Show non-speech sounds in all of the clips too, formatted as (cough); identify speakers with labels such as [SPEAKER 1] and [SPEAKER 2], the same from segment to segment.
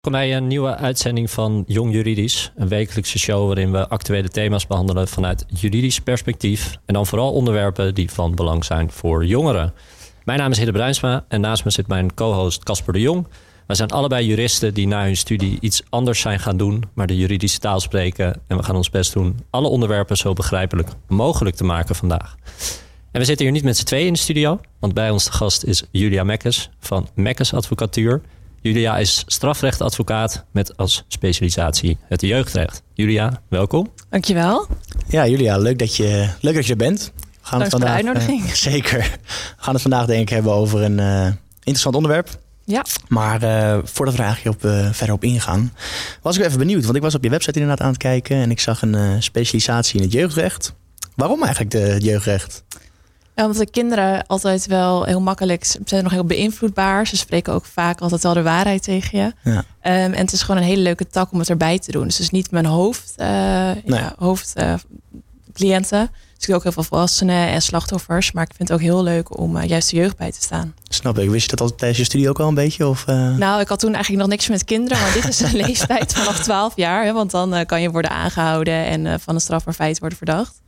[SPEAKER 1] Welkom bij een nieuwe uitzending van Jong Juridisch. Een wekelijkse show waarin we actuele thema's behandelen vanuit juridisch perspectief. En dan vooral onderwerpen die van belang zijn voor jongeren. Mijn naam is Hidde Bruinsma en naast me zit mijn co-host Casper de Jong. Wij zijn allebei juristen die na hun studie iets anders zijn gaan doen, maar de juridische taal spreken. En we gaan ons best doen alle onderwerpen zo begrijpelijk mogelijk te maken vandaag. En we zitten hier niet met z'n tweeën in de studio, want bij ons de gast is Julia Mekkes van Mekkes Advocatuur. Julia is strafrechtadvocaat met als specialisatie het jeugdrecht. Julia, welkom.
[SPEAKER 2] Dankjewel.
[SPEAKER 3] Ja, Julia, leuk dat je, leuk dat je er bent. We gaan
[SPEAKER 2] Dank voor de
[SPEAKER 3] vandaag,
[SPEAKER 2] uitnodiging.
[SPEAKER 3] eh, (laughs) zeker. We gaan het vandaag denk ik hebben over een eh, interessant onderwerp.
[SPEAKER 2] Ja.
[SPEAKER 3] Maar eh, voordat we er eigenlijk op, eh, verder op ingaan, was ik wel even benieuwd. Want ik was op je website inderdaad aan het kijken en ik zag een eh, specialisatie in het jeugdrecht. Waarom eigenlijk de, het jeugdrecht?
[SPEAKER 2] Ja, Omdat de kinderen altijd wel heel makkelijk ze zijn nog heel beïnvloedbaar. Ze spreken ook vaak altijd wel de waarheid tegen je.
[SPEAKER 3] Ja.
[SPEAKER 2] Ehm, en het is gewoon een hele leuke tak om het erbij te doen. Dus het is niet mijn hoofd, eh ja, hoofd eh, cliënten. Dus ik doe ook heel veel volwassenen en slachtoffers. Maar ik vind het ook heel leuk om eh, juist de jeugd bij te staan.
[SPEAKER 3] Snap ik. Wist je dat al tijdens je studie ook al een beetje? Of, eh,
[SPEAKER 2] Nou, ik had toen eigenlijk nog niks met kinderen. Maar dit is een (laughs) leeftijd vanaf 12 jaar. Hè, want dan eh, kan je worden aangehouden en eh, van een strafbaar feit worden verdacht.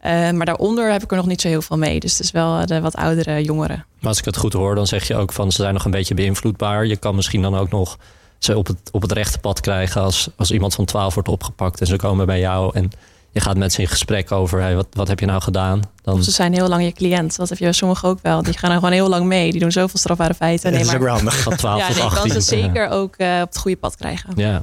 [SPEAKER 2] Eh, maar daaronder heb ik er nog niet zo heel veel mee. Dus het is wel eh, de wat oudere jongeren.
[SPEAKER 1] Maar als ik het goed hoor, dan zeg je ook van ze zijn nog een beetje beïnvloedbaar. Je kan misschien dan ook nog ze op het, op het rechte pad krijgen als, als iemand van 12 wordt opgepakt en ze komen bij jou en je gaat met ze in gesprek over hey, wat, wat heb je nou gedaan? Dan,
[SPEAKER 2] Of Dus ze zijn heel lang je cliënt. Dat heb je sommigen ook wel. Die gaan er gewoon heel lang mee. Die doen zoveel strafbare feiten.
[SPEAKER 3] dat
[SPEAKER 2] Nee,
[SPEAKER 3] is ook
[SPEAKER 2] maar
[SPEAKER 3] wel handig.
[SPEAKER 1] van 12
[SPEAKER 2] (laughs) ja,
[SPEAKER 1] tot
[SPEAKER 2] nee, ik
[SPEAKER 1] 18.
[SPEAKER 2] kan ze
[SPEAKER 1] Ja.
[SPEAKER 2] zeker ook eh, op het goede pad krijgen.
[SPEAKER 1] Ja.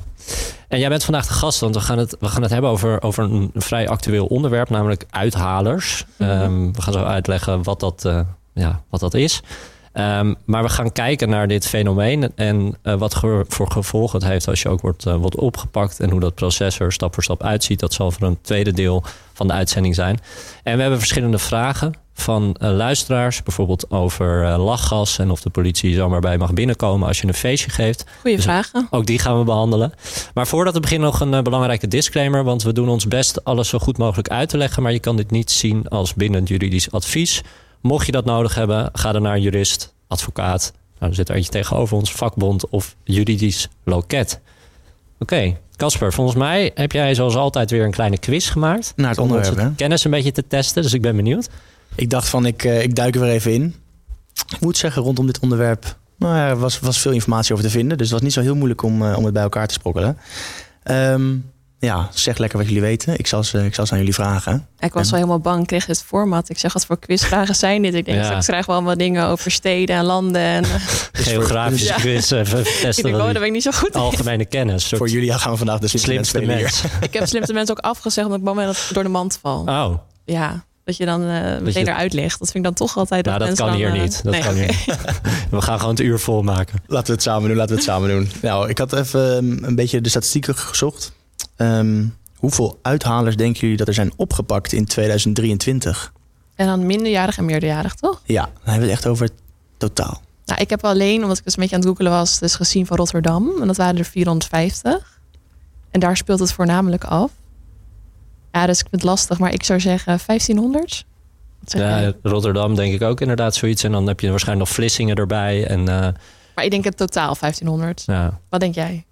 [SPEAKER 1] En jij bent vandaag de gast, want we gaan het, we gaan het hebben over, over een vrij actueel onderwerp, namelijk uithalers.
[SPEAKER 2] Mhm.
[SPEAKER 1] Ehm, we gaan zo uitleggen wat dat, eh, ja, wat dat is. Ehm, maar we gaan kijken naar dit fenomeen en eh, wat ge- voor gevolgen het heeft als je ook wordt, eh, wordt opgepakt en hoe dat proces er stap voor stap uitziet. Dat zal voor een tweede deel van de uitzending zijn. En we hebben verschillende vragen van eh, luisteraars, bijvoorbeeld over eh, lachgas en of de politie zomaar bij mag binnenkomen als je een feestje geeft.
[SPEAKER 2] Goede
[SPEAKER 1] Dus-
[SPEAKER 2] vragen.
[SPEAKER 1] Ook die gaan we behandelen. Maar voordat we beginnen nog een eh, belangrijke disclaimer. Want we doen ons best alles zo goed mogelijk uit te leggen. Maar je kan dit niet zien als bindend juridisch advies. Mocht je dat nodig hebben, ga dan naar een jurist, advocaat. Nou, er zit er eentje tegenover ons, vakbond of juridisch loket. Oké, Casper, volgens mij heb jij zoals altijd weer een kleine quiz gemaakt.
[SPEAKER 3] Naar het
[SPEAKER 1] Om onze
[SPEAKER 3] onderwerp, hè?
[SPEAKER 1] kennis een beetje te testen, dus ik ben benieuwd.
[SPEAKER 3] Ik dacht van, ik, eh, ik duik er weer even in. Ik moet zeggen, rondom dit onderwerp nou ja, er was, was veel informatie over te vinden. Dus het was niet zo heel moeilijk om, eh, om het bij elkaar te sprokkelen. Ehm, ja, zeg lekker wat jullie weten. Ik zal ze, ik zal ze aan jullie vragen.
[SPEAKER 2] Ik was wel helemaal bang. Ik kreeg het format. Ik zeg, wat voor quizvragen zijn dit? Ik denk,
[SPEAKER 1] Ja.
[SPEAKER 2] ik krijg wel allemaal dingen over steden en landen. En,
[SPEAKER 3] Dus
[SPEAKER 1] Geografische
[SPEAKER 2] Ja.
[SPEAKER 1] quiz, even
[SPEAKER 2] ik
[SPEAKER 1] testen
[SPEAKER 2] denk,
[SPEAKER 1] wat
[SPEAKER 2] oh, daar
[SPEAKER 1] die
[SPEAKER 2] ben ik niet zo goed in.
[SPEAKER 1] algemene kennis.
[SPEAKER 3] Voor
[SPEAKER 1] Soort
[SPEAKER 3] jullie gaan we vandaag de
[SPEAKER 1] slimste mens.
[SPEAKER 2] Ik heb slimste mensen ook afgezegd omdat ik bang ben dat ik door de mand val.
[SPEAKER 1] Oh,
[SPEAKER 2] Ja, dat je dan eh, meteen
[SPEAKER 1] je-
[SPEAKER 2] eruit ligt. Dat vind ik dan toch altijd...
[SPEAKER 1] nou dat
[SPEAKER 2] mensen
[SPEAKER 1] kan
[SPEAKER 2] dan,
[SPEAKER 1] hier
[SPEAKER 2] eh,
[SPEAKER 1] niet. Dat
[SPEAKER 2] nee,
[SPEAKER 1] kan hier
[SPEAKER 2] oké.
[SPEAKER 1] niet. We gaan gewoon het uur volmaken.
[SPEAKER 3] Laten we het samen doen, laten we het samen doen. Nou, ik had even ehm, een beetje de statistieken gezocht. Ehm, hoeveel uithalers denken jullie dat er zijn opgepakt in 2023?
[SPEAKER 2] En dan minderjarig en meerderjarig, toch?
[SPEAKER 3] Ja, dan hebben we het echt over totaal.
[SPEAKER 2] Nou, ik heb alleen, omdat ik dus een beetje aan het googelen was, dus gezien van Rotterdam. En dat waren er 450. En daar speelt het voornamelijk af. Ja, dus ik vind het lastig, maar ik zou zeggen 1500. Wat zeg jij?
[SPEAKER 1] Ja, Rotterdam denk ik ook inderdaad zoiets. En dan heb je waarschijnlijk nog Vlissingen erbij. En eh,
[SPEAKER 2] Maar ik denk het totaal 1500.
[SPEAKER 1] ja,
[SPEAKER 2] Wat denk jij?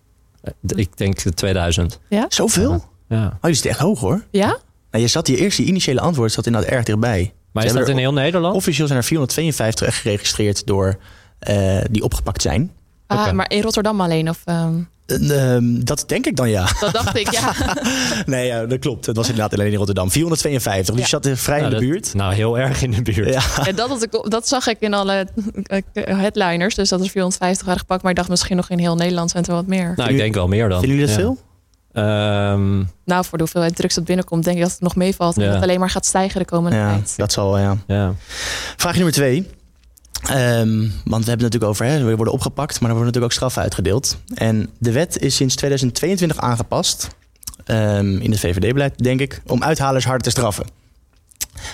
[SPEAKER 1] d- ik denk 2000.
[SPEAKER 3] Zoveel?
[SPEAKER 1] Ja.
[SPEAKER 3] Oh,
[SPEAKER 1] Ja.
[SPEAKER 3] jullie zitten echt hoog hoor.
[SPEAKER 2] Ja?
[SPEAKER 3] Nou, je zat hier eerst, die initiële antwoord zat inderdaad erg dichtbij.
[SPEAKER 1] Maar
[SPEAKER 3] Ze
[SPEAKER 1] is dat
[SPEAKER 3] hebben
[SPEAKER 1] in heel Nederland?
[SPEAKER 3] Officieel zijn er 452 echt geregistreerd door eh, die opgepakt zijn.
[SPEAKER 2] Ah,
[SPEAKER 1] Oké.
[SPEAKER 2] maar in Rotterdam alleen? Of, ehm,
[SPEAKER 3] En, ehm, dat denk ik dan ja.
[SPEAKER 2] dat dacht ik, ja.
[SPEAKER 3] (laughs) nee, ja, dat klopt. Het was inderdaad alleen in Rotterdam. 452, dus
[SPEAKER 2] Ja.
[SPEAKER 3] je zat er vrij
[SPEAKER 1] Nou,
[SPEAKER 3] in de
[SPEAKER 1] dat-
[SPEAKER 3] buurt.
[SPEAKER 1] Nou, heel erg in de buurt.
[SPEAKER 3] Ja.
[SPEAKER 2] En dat, had ik, dat zag ik in alle eh, headliners. Dus dat er 450 waren gepakt. Maar ik dacht misschien nog in heel Nederland zijn het er wat meer.
[SPEAKER 1] Nou, ik denk wel meer dan.
[SPEAKER 3] Vinden jullie
[SPEAKER 1] Ja.
[SPEAKER 3] dat veel?
[SPEAKER 1] Ehm,
[SPEAKER 2] Nou, voor de hoeveelheid drugs dat binnenkomt, denk ik dat het nog meevalt. En
[SPEAKER 1] Ja.
[SPEAKER 2] dat het alleen maar gaat stijgen de komende
[SPEAKER 3] Ja,
[SPEAKER 2] tijd.
[SPEAKER 3] dat zal ja.
[SPEAKER 1] ja.
[SPEAKER 3] Vraag nummer twee. Ehm, want we hebben het natuurlijk over, hè, we worden opgepakt, maar er worden natuurlijk ook straffen uitgedeeld. En de wet is sinds 2022 aangepast, ehm, in het VVD-beleid denk ik, om uithalers harder te straffen.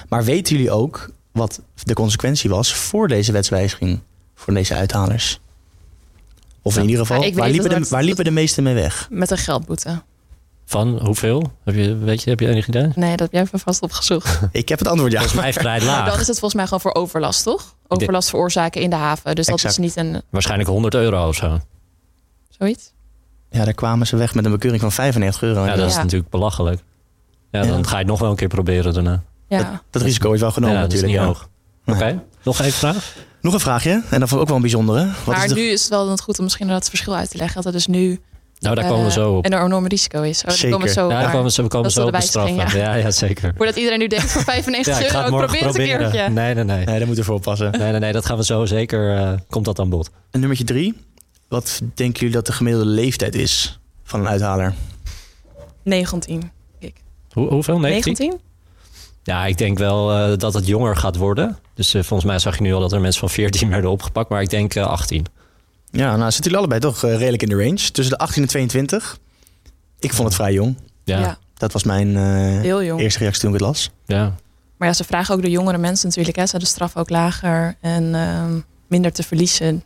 [SPEAKER 3] Maar weten jullie ook wat de consequentie was voor deze wetswijziging, voor deze uithalers? Of in
[SPEAKER 1] Ja, Ah,
[SPEAKER 3] ieder geval,
[SPEAKER 2] maar ik
[SPEAKER 3] waar
[SPEAKER 2] weet
[SPEAKER 3] liepen,
[SPEAKER 2] dat
[SPEAKER 3] de,
[SPEAKER 2] het-
[SPEAKER 3] waar liepen de meesten mee
[SPEAKER 1] (laughs)
[SPEAKER 3] weg?
[SPEAKER 2] Met een geldboete.
[SPEAKER 1] Van hoeveel? Heb je, weet je, heb je enig idee?
[SPEAKER 2] Nee, dat heb jij even vast opgezocht.
[SPEAKER 3] Ik heb het antwoord ja.
[SPEAKER 1] Volgens mij vrij
[SPEAKER 2] Maar dan
[SPEAKER 1] laag.
[SPEAKER 2] is het volgens mij gewoon voor overlast, toch? Overlast veroorzaken in de haven. Dus dat
[SPEAKER 3] Exact.
[SPEAKER 2] is niet een
[SPEAKER 1] Oh, Waarschijnlijk 100 euro of zo.
[SPEAKER 2] zoiets.
[SPEAKER 3] Ja, daar kwamen ze weg met een bekeuring van 95 euro.
[SPEAKER 1] Ja, dat is
[SPEAKER 2] Ja.
[SPEAKER 1] natuurlijk belachelijk. Ja, dan
[SPEAKER 3] Ja.
[SPEAKER 1] ga je het nog wel een keer proberen daarna.
[SPEAKER 2] Ja.
[SPEAKER 3] Dat risico is wel genomen
[SPEAKER 1] ja, dat is
[SPEAKER 3] natuurlijk.
[SPEAKER 1] niet
[SPEAKER 3] ja.
[SPEAKER 1] hoog. Oké, nog één vraag?
[SPEAKER 3] Nog een vraagje, en dat vond ik ook wel een bijzondere. Wat
[SPEAKER 2] maar
[SPEAKER 3] is de...
[SPEAKER 2] nu is het wel dan goed om misschien dat verschil uit te leggen. Dat er dus nu
[SPEAKER 1] Nou, daar
[SPEAKER 2] eh,
[SPEAKER 1] komen we zo op.
[SPEAKER 2] een enorm risico is. Oh, daar komen we
[SPEAKER 3] Zeker.
[SPEAKER 2] zo
[SPEAKER 1] Ja,
[SPEAKER 2] op.
[SPEAKER 1] daar
[SPEAKER 2] maar
[SPEAKER 1] komen we zo, we komen
[SPEAKER 2] dat
[SPEAKER 1] zo
[SPEAKER 2] is
[SPEAKER 1] op
[SPEAKER 2] wel
[SPEAKER 1] de
[SPEAKER 2] de wijziging,
[SPEAKER 1] straffen. Ja, ja zeker.
[SPEAKER 2] Voordat iedereen nu denkt voor 95
[SPEAKER 1] Ja, ik ga
[SPEAKER 2] euro,
[SPEAKER 1] het
[SPEAKER 2] ik
[SPEAKER 1] morgen
[SPEAKER 2] probeer het een
[SPEAKER 1] proberen. Nee,
[SPEAKER 2] keertje.
[SPEAKER 1] nee, nee.
[SPEAKER 3] (laughs) Nee, daar moeten we voor oppassen.
[SPEAKER 1] Nee, nee, nee, dat gaan we zo zeker. eh, komt dat aan bod?
[SPEAKER 3] En nummertje drie. Wat denken jullie dat de gemiddelde leeftijd is van een uithaler?
[SPEAKER 2] 19.
[SPEAKER 1] Hoe, hoeveel? 19?
[SPEAKER 2] 19?
[SPEAKER 1] Ja, ik denk wel eh, dat het jonger gaat worden. Dus eh, volgens mij zag je nu al dat er mensen van 14 (laughs) werden opgepakt. Maar ik denk eh, 18.
[SPEAKER 3] Ja, nou zitten jullie allebei toch eh, redelijk in de range. Tussen de 18 en 22. Ik vond het vrij jong.
[SPEAKER 1] Ja, ja.
[SPEAKER 3] Dat was mijn eh,
[SPEAKER 2] heel jong.
[SPEAKER 3] eerste reactie toen ik het las.
[SPEAKER 2] Maar ja, ze vragen ook de jongere mensen natuurlijk. Hè. Ze hebben de straf ook lager en ehm, minder te verliezen.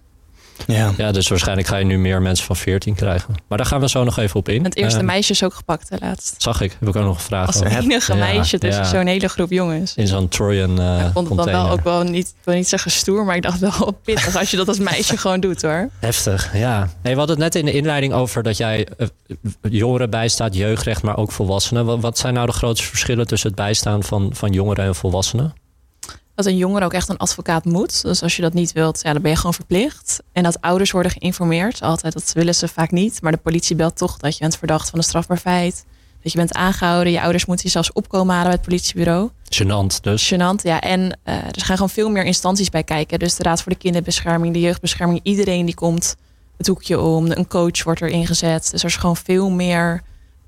[SPEAKER 3] Ja.
[SPEAKER 1] Ja, dus waarschijnlijk ga je nu meer mensen van 14 krijgen. Maar daar gaan we zo nog even op in.
[SPEAKER 2] En het eerste
[SPEAKER 1] Eh,
[SPEAKER 2] meisje is ook gepakt, hè, laatst.
[SPEAKER 1] Zag ik, heb ik ook nog een vraag
[SPEAKER 2] Als
[SPEAKER 1] over.
[SPEAKER 3] heb-
[SPEAKER 2] enige
[SPEAKER 1] ja,
[SPEAKER 2] meisje tussen
[SPEAKER 1] ja.
[SPEAKER 2] zo'n hele groep jongens.
[SPEAKER 1] In zo'n Trojan eh
[SPEAKER 2] ik vond het dan
[SPEAKER 1] container.
[SPEAKER 2] wel ook wel niet, ik wil niet zeggen stoer, maar ik dacht wel (laughs) pittig als je dat als meisje gewoon doet hoor.
[SPEAKER 1] Heftig, ja. Nee, we hadden het net in de inleiding over dat jij eh, jongeren bijstaat, jeugdrecht, maar ook volwassenen. Wat, wat zijn nou de grootste verschillen tussen het bijstaan van, van jongeren en volwassenen?
[SPEAKER 2] Dat een jongere ook echt een advocaat moet. Dus als je dat niet wilt, ja, dan ben je gewoon verplicht. En dat ouders worden geïnformeerd altijd. Dat willen ze vaak niet. Maar de politie belt toch dat je bent verdacht van een strafbaar feit. Dat je bent aangehouden. Je ouders moeten je zelfs opkomen halen bij het politiebureau.
[SPEAKER 1] Genant dus.
[SPEAKER 2] Gênant, ja. En eh, er gaan gewoon veel meer instanties bij kijken. Dus de Raad voor de Kinderbescherming, de Jeugdbescherming. Iedereen die komt het hoekje om. Een coach wordt erin gezet. Dus er is gewoon veel meer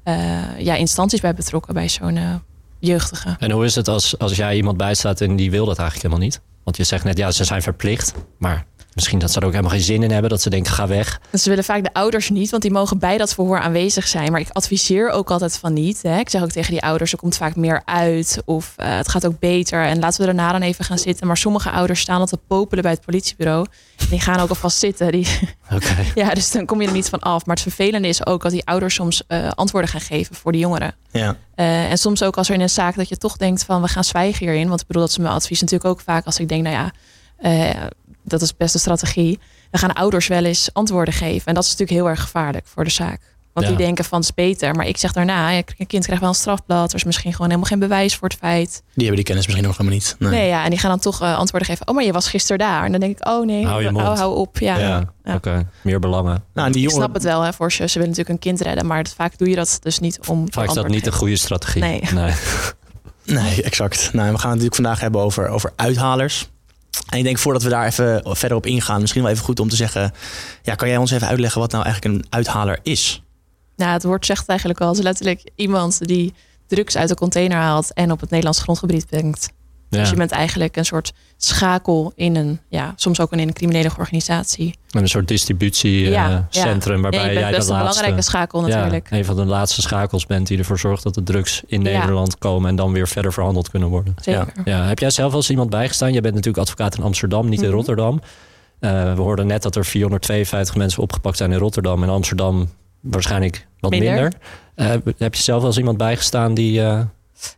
[SPEAKER 2] eh, ja, instanties bij betrokken bij zo'n eh, jeugdige.
[SPEAKER 1] En hoe is het als, als jij iemand bijstaat en die wil dat eigenlijk helemaal niet? Want je zegt net, ja, ze zijn verplicht. Maar misschien dat ze er ook helemaal geen zin in hebben. Dat ze denken, ga weg. (laughs)
[SPEAKER 2] Dus ze willen vaak de ouders niet, want die mogen bij dat verhoor aanwezig zijn. Maar ik adviseer ook altijd van niet. Hè. Ik zeg ook tegen die ouders, er komt vaak meer uit of eh, het gaat ook beter. En laten we daarna dan even gaan zitten. Maar sommige ouders staan al te popelen bij het politiebureau. En die gaan ook alvast zitten. Die,
[SPEAKER 1] Oké.
[SPEAKER 2] ja, dus dan kom je er niet van af. Maar het vervelende is ook dat die ouders soms eh, antwoorden gaan geven voor de jongeren.
[SPEAKER 3] Ja.
[SPEAKER 2] Eh, en soms ook als er in een zaak dat je toch denkt van we gaan zwijgen hierin. Want ik bedoel, dat is mijn advies natuurlijk ook vaak als ik denk, nou ja, eh, dat is best een strategie. Dan gaan ouders wel eens antwoorden geven. En dat is natuurlijk heel erg gevaarlijk voor de zaak. Want
[SPEAKER 1] Ja.
[SPEAKER 2] die denken van het is beter. Maar ik zeg daarna, ja, een kind krijgt wel een strafblad. Er is misschien gewoon helemaal geen bewijs voor het feit.
[SPEAKER 3] Die hebben die kennis misschien nog helemaal niet. Nee.
[SPEAKER 2] Nee, ja, en die gaan dan toch eh, antwoorden geven. Oh, maar je was gisteren daar. En dan denk ik, oh nee,
[SPEAKER 1] Hou je mond.
[SPEAKER 2] hou op. Ja,
[SPEAKER 1] Oké, meer belangen.
[SPEAKER 3] Nou, en die
[SPEAKER 2] Ik
[SPEAKER 3] jongen,
[SPEAKER 2] snap het wel, hè, voor ze. Ze willen natuurlijk een kind redden, maar dat- vaak doe je dat dus niet om.
[SPEAKER 1] Vaak is dat niet de
[SPEAKER 2] goed.
[SPEAKER 1] goede strategie.
[SPEAKER 2] Nee. (laughs)
[SPEAKER 3] Nee, exact. Nou, en we gaan het natuurlijk vandaag hebben over, over uithalers. En ik denk voordat we daar even verder op ingaan, misschien wel even goed om te zeggen. Ja, kan jij ons even uitleggen wat nou eigenlijk een uithaler is?
[SPEAKER 2] Nou, het woord zegt eigenlijk al. Het is letterlijk iemand die drugs uit de container haalt en op het Nederlands grondgebied brengt.
[SPEAKER 1] Ja.
[SPEAKER 2] Dus je bent eigenlijk een soort schakel in een, ja, soms ook in een criminele organisatie.
[SPEAKER 1] En Een soort
[SPEAKER 2] Ja,
[SPEAKER 1] distributiecentrum
[SPEAKER 2] ja.
[SPEAKER 1] centrum
[SPEAKER 2] Ja,
[SPEAKER 1] waarbij
[SPEAKER 2] je bent
[SPEAKER 1] jij
[SPEAKER 2] best
[SPEAKER 1] de
[SPEAKER 2] een
[SPEAKER 1] laatste...
[SPEAKER 2] belangrijke schakel natuurlijk.
[SPEAKER 1] Ja, een van de laatste schakels bent die ervoor zorgt dat de drugs in
[SPEAKER 2] Ja.
[SPEAKER 1] Nederland komen en dan weer verder verhandeld kunnen worden.
[SPEAKER 2] Zeker.
[SPEAKER 1] Ja, heb jij zelf als iemand bijgestaan? Jij bent natuurlijk advocaat in Amsterdam, niet in
[SPEAKER 2] Mhm.
[SPEAKER 1] Rotterdam. Eh, we hoorden net dat er 452 mensen opgepakt zijn in Rotterdam. In Amsterdam waarschijnlijk wat minder.
[SPEAKER 2] Minder.
[SPEAKER 1] Eh, heb je zelf als iemand bijgestaan die... eh,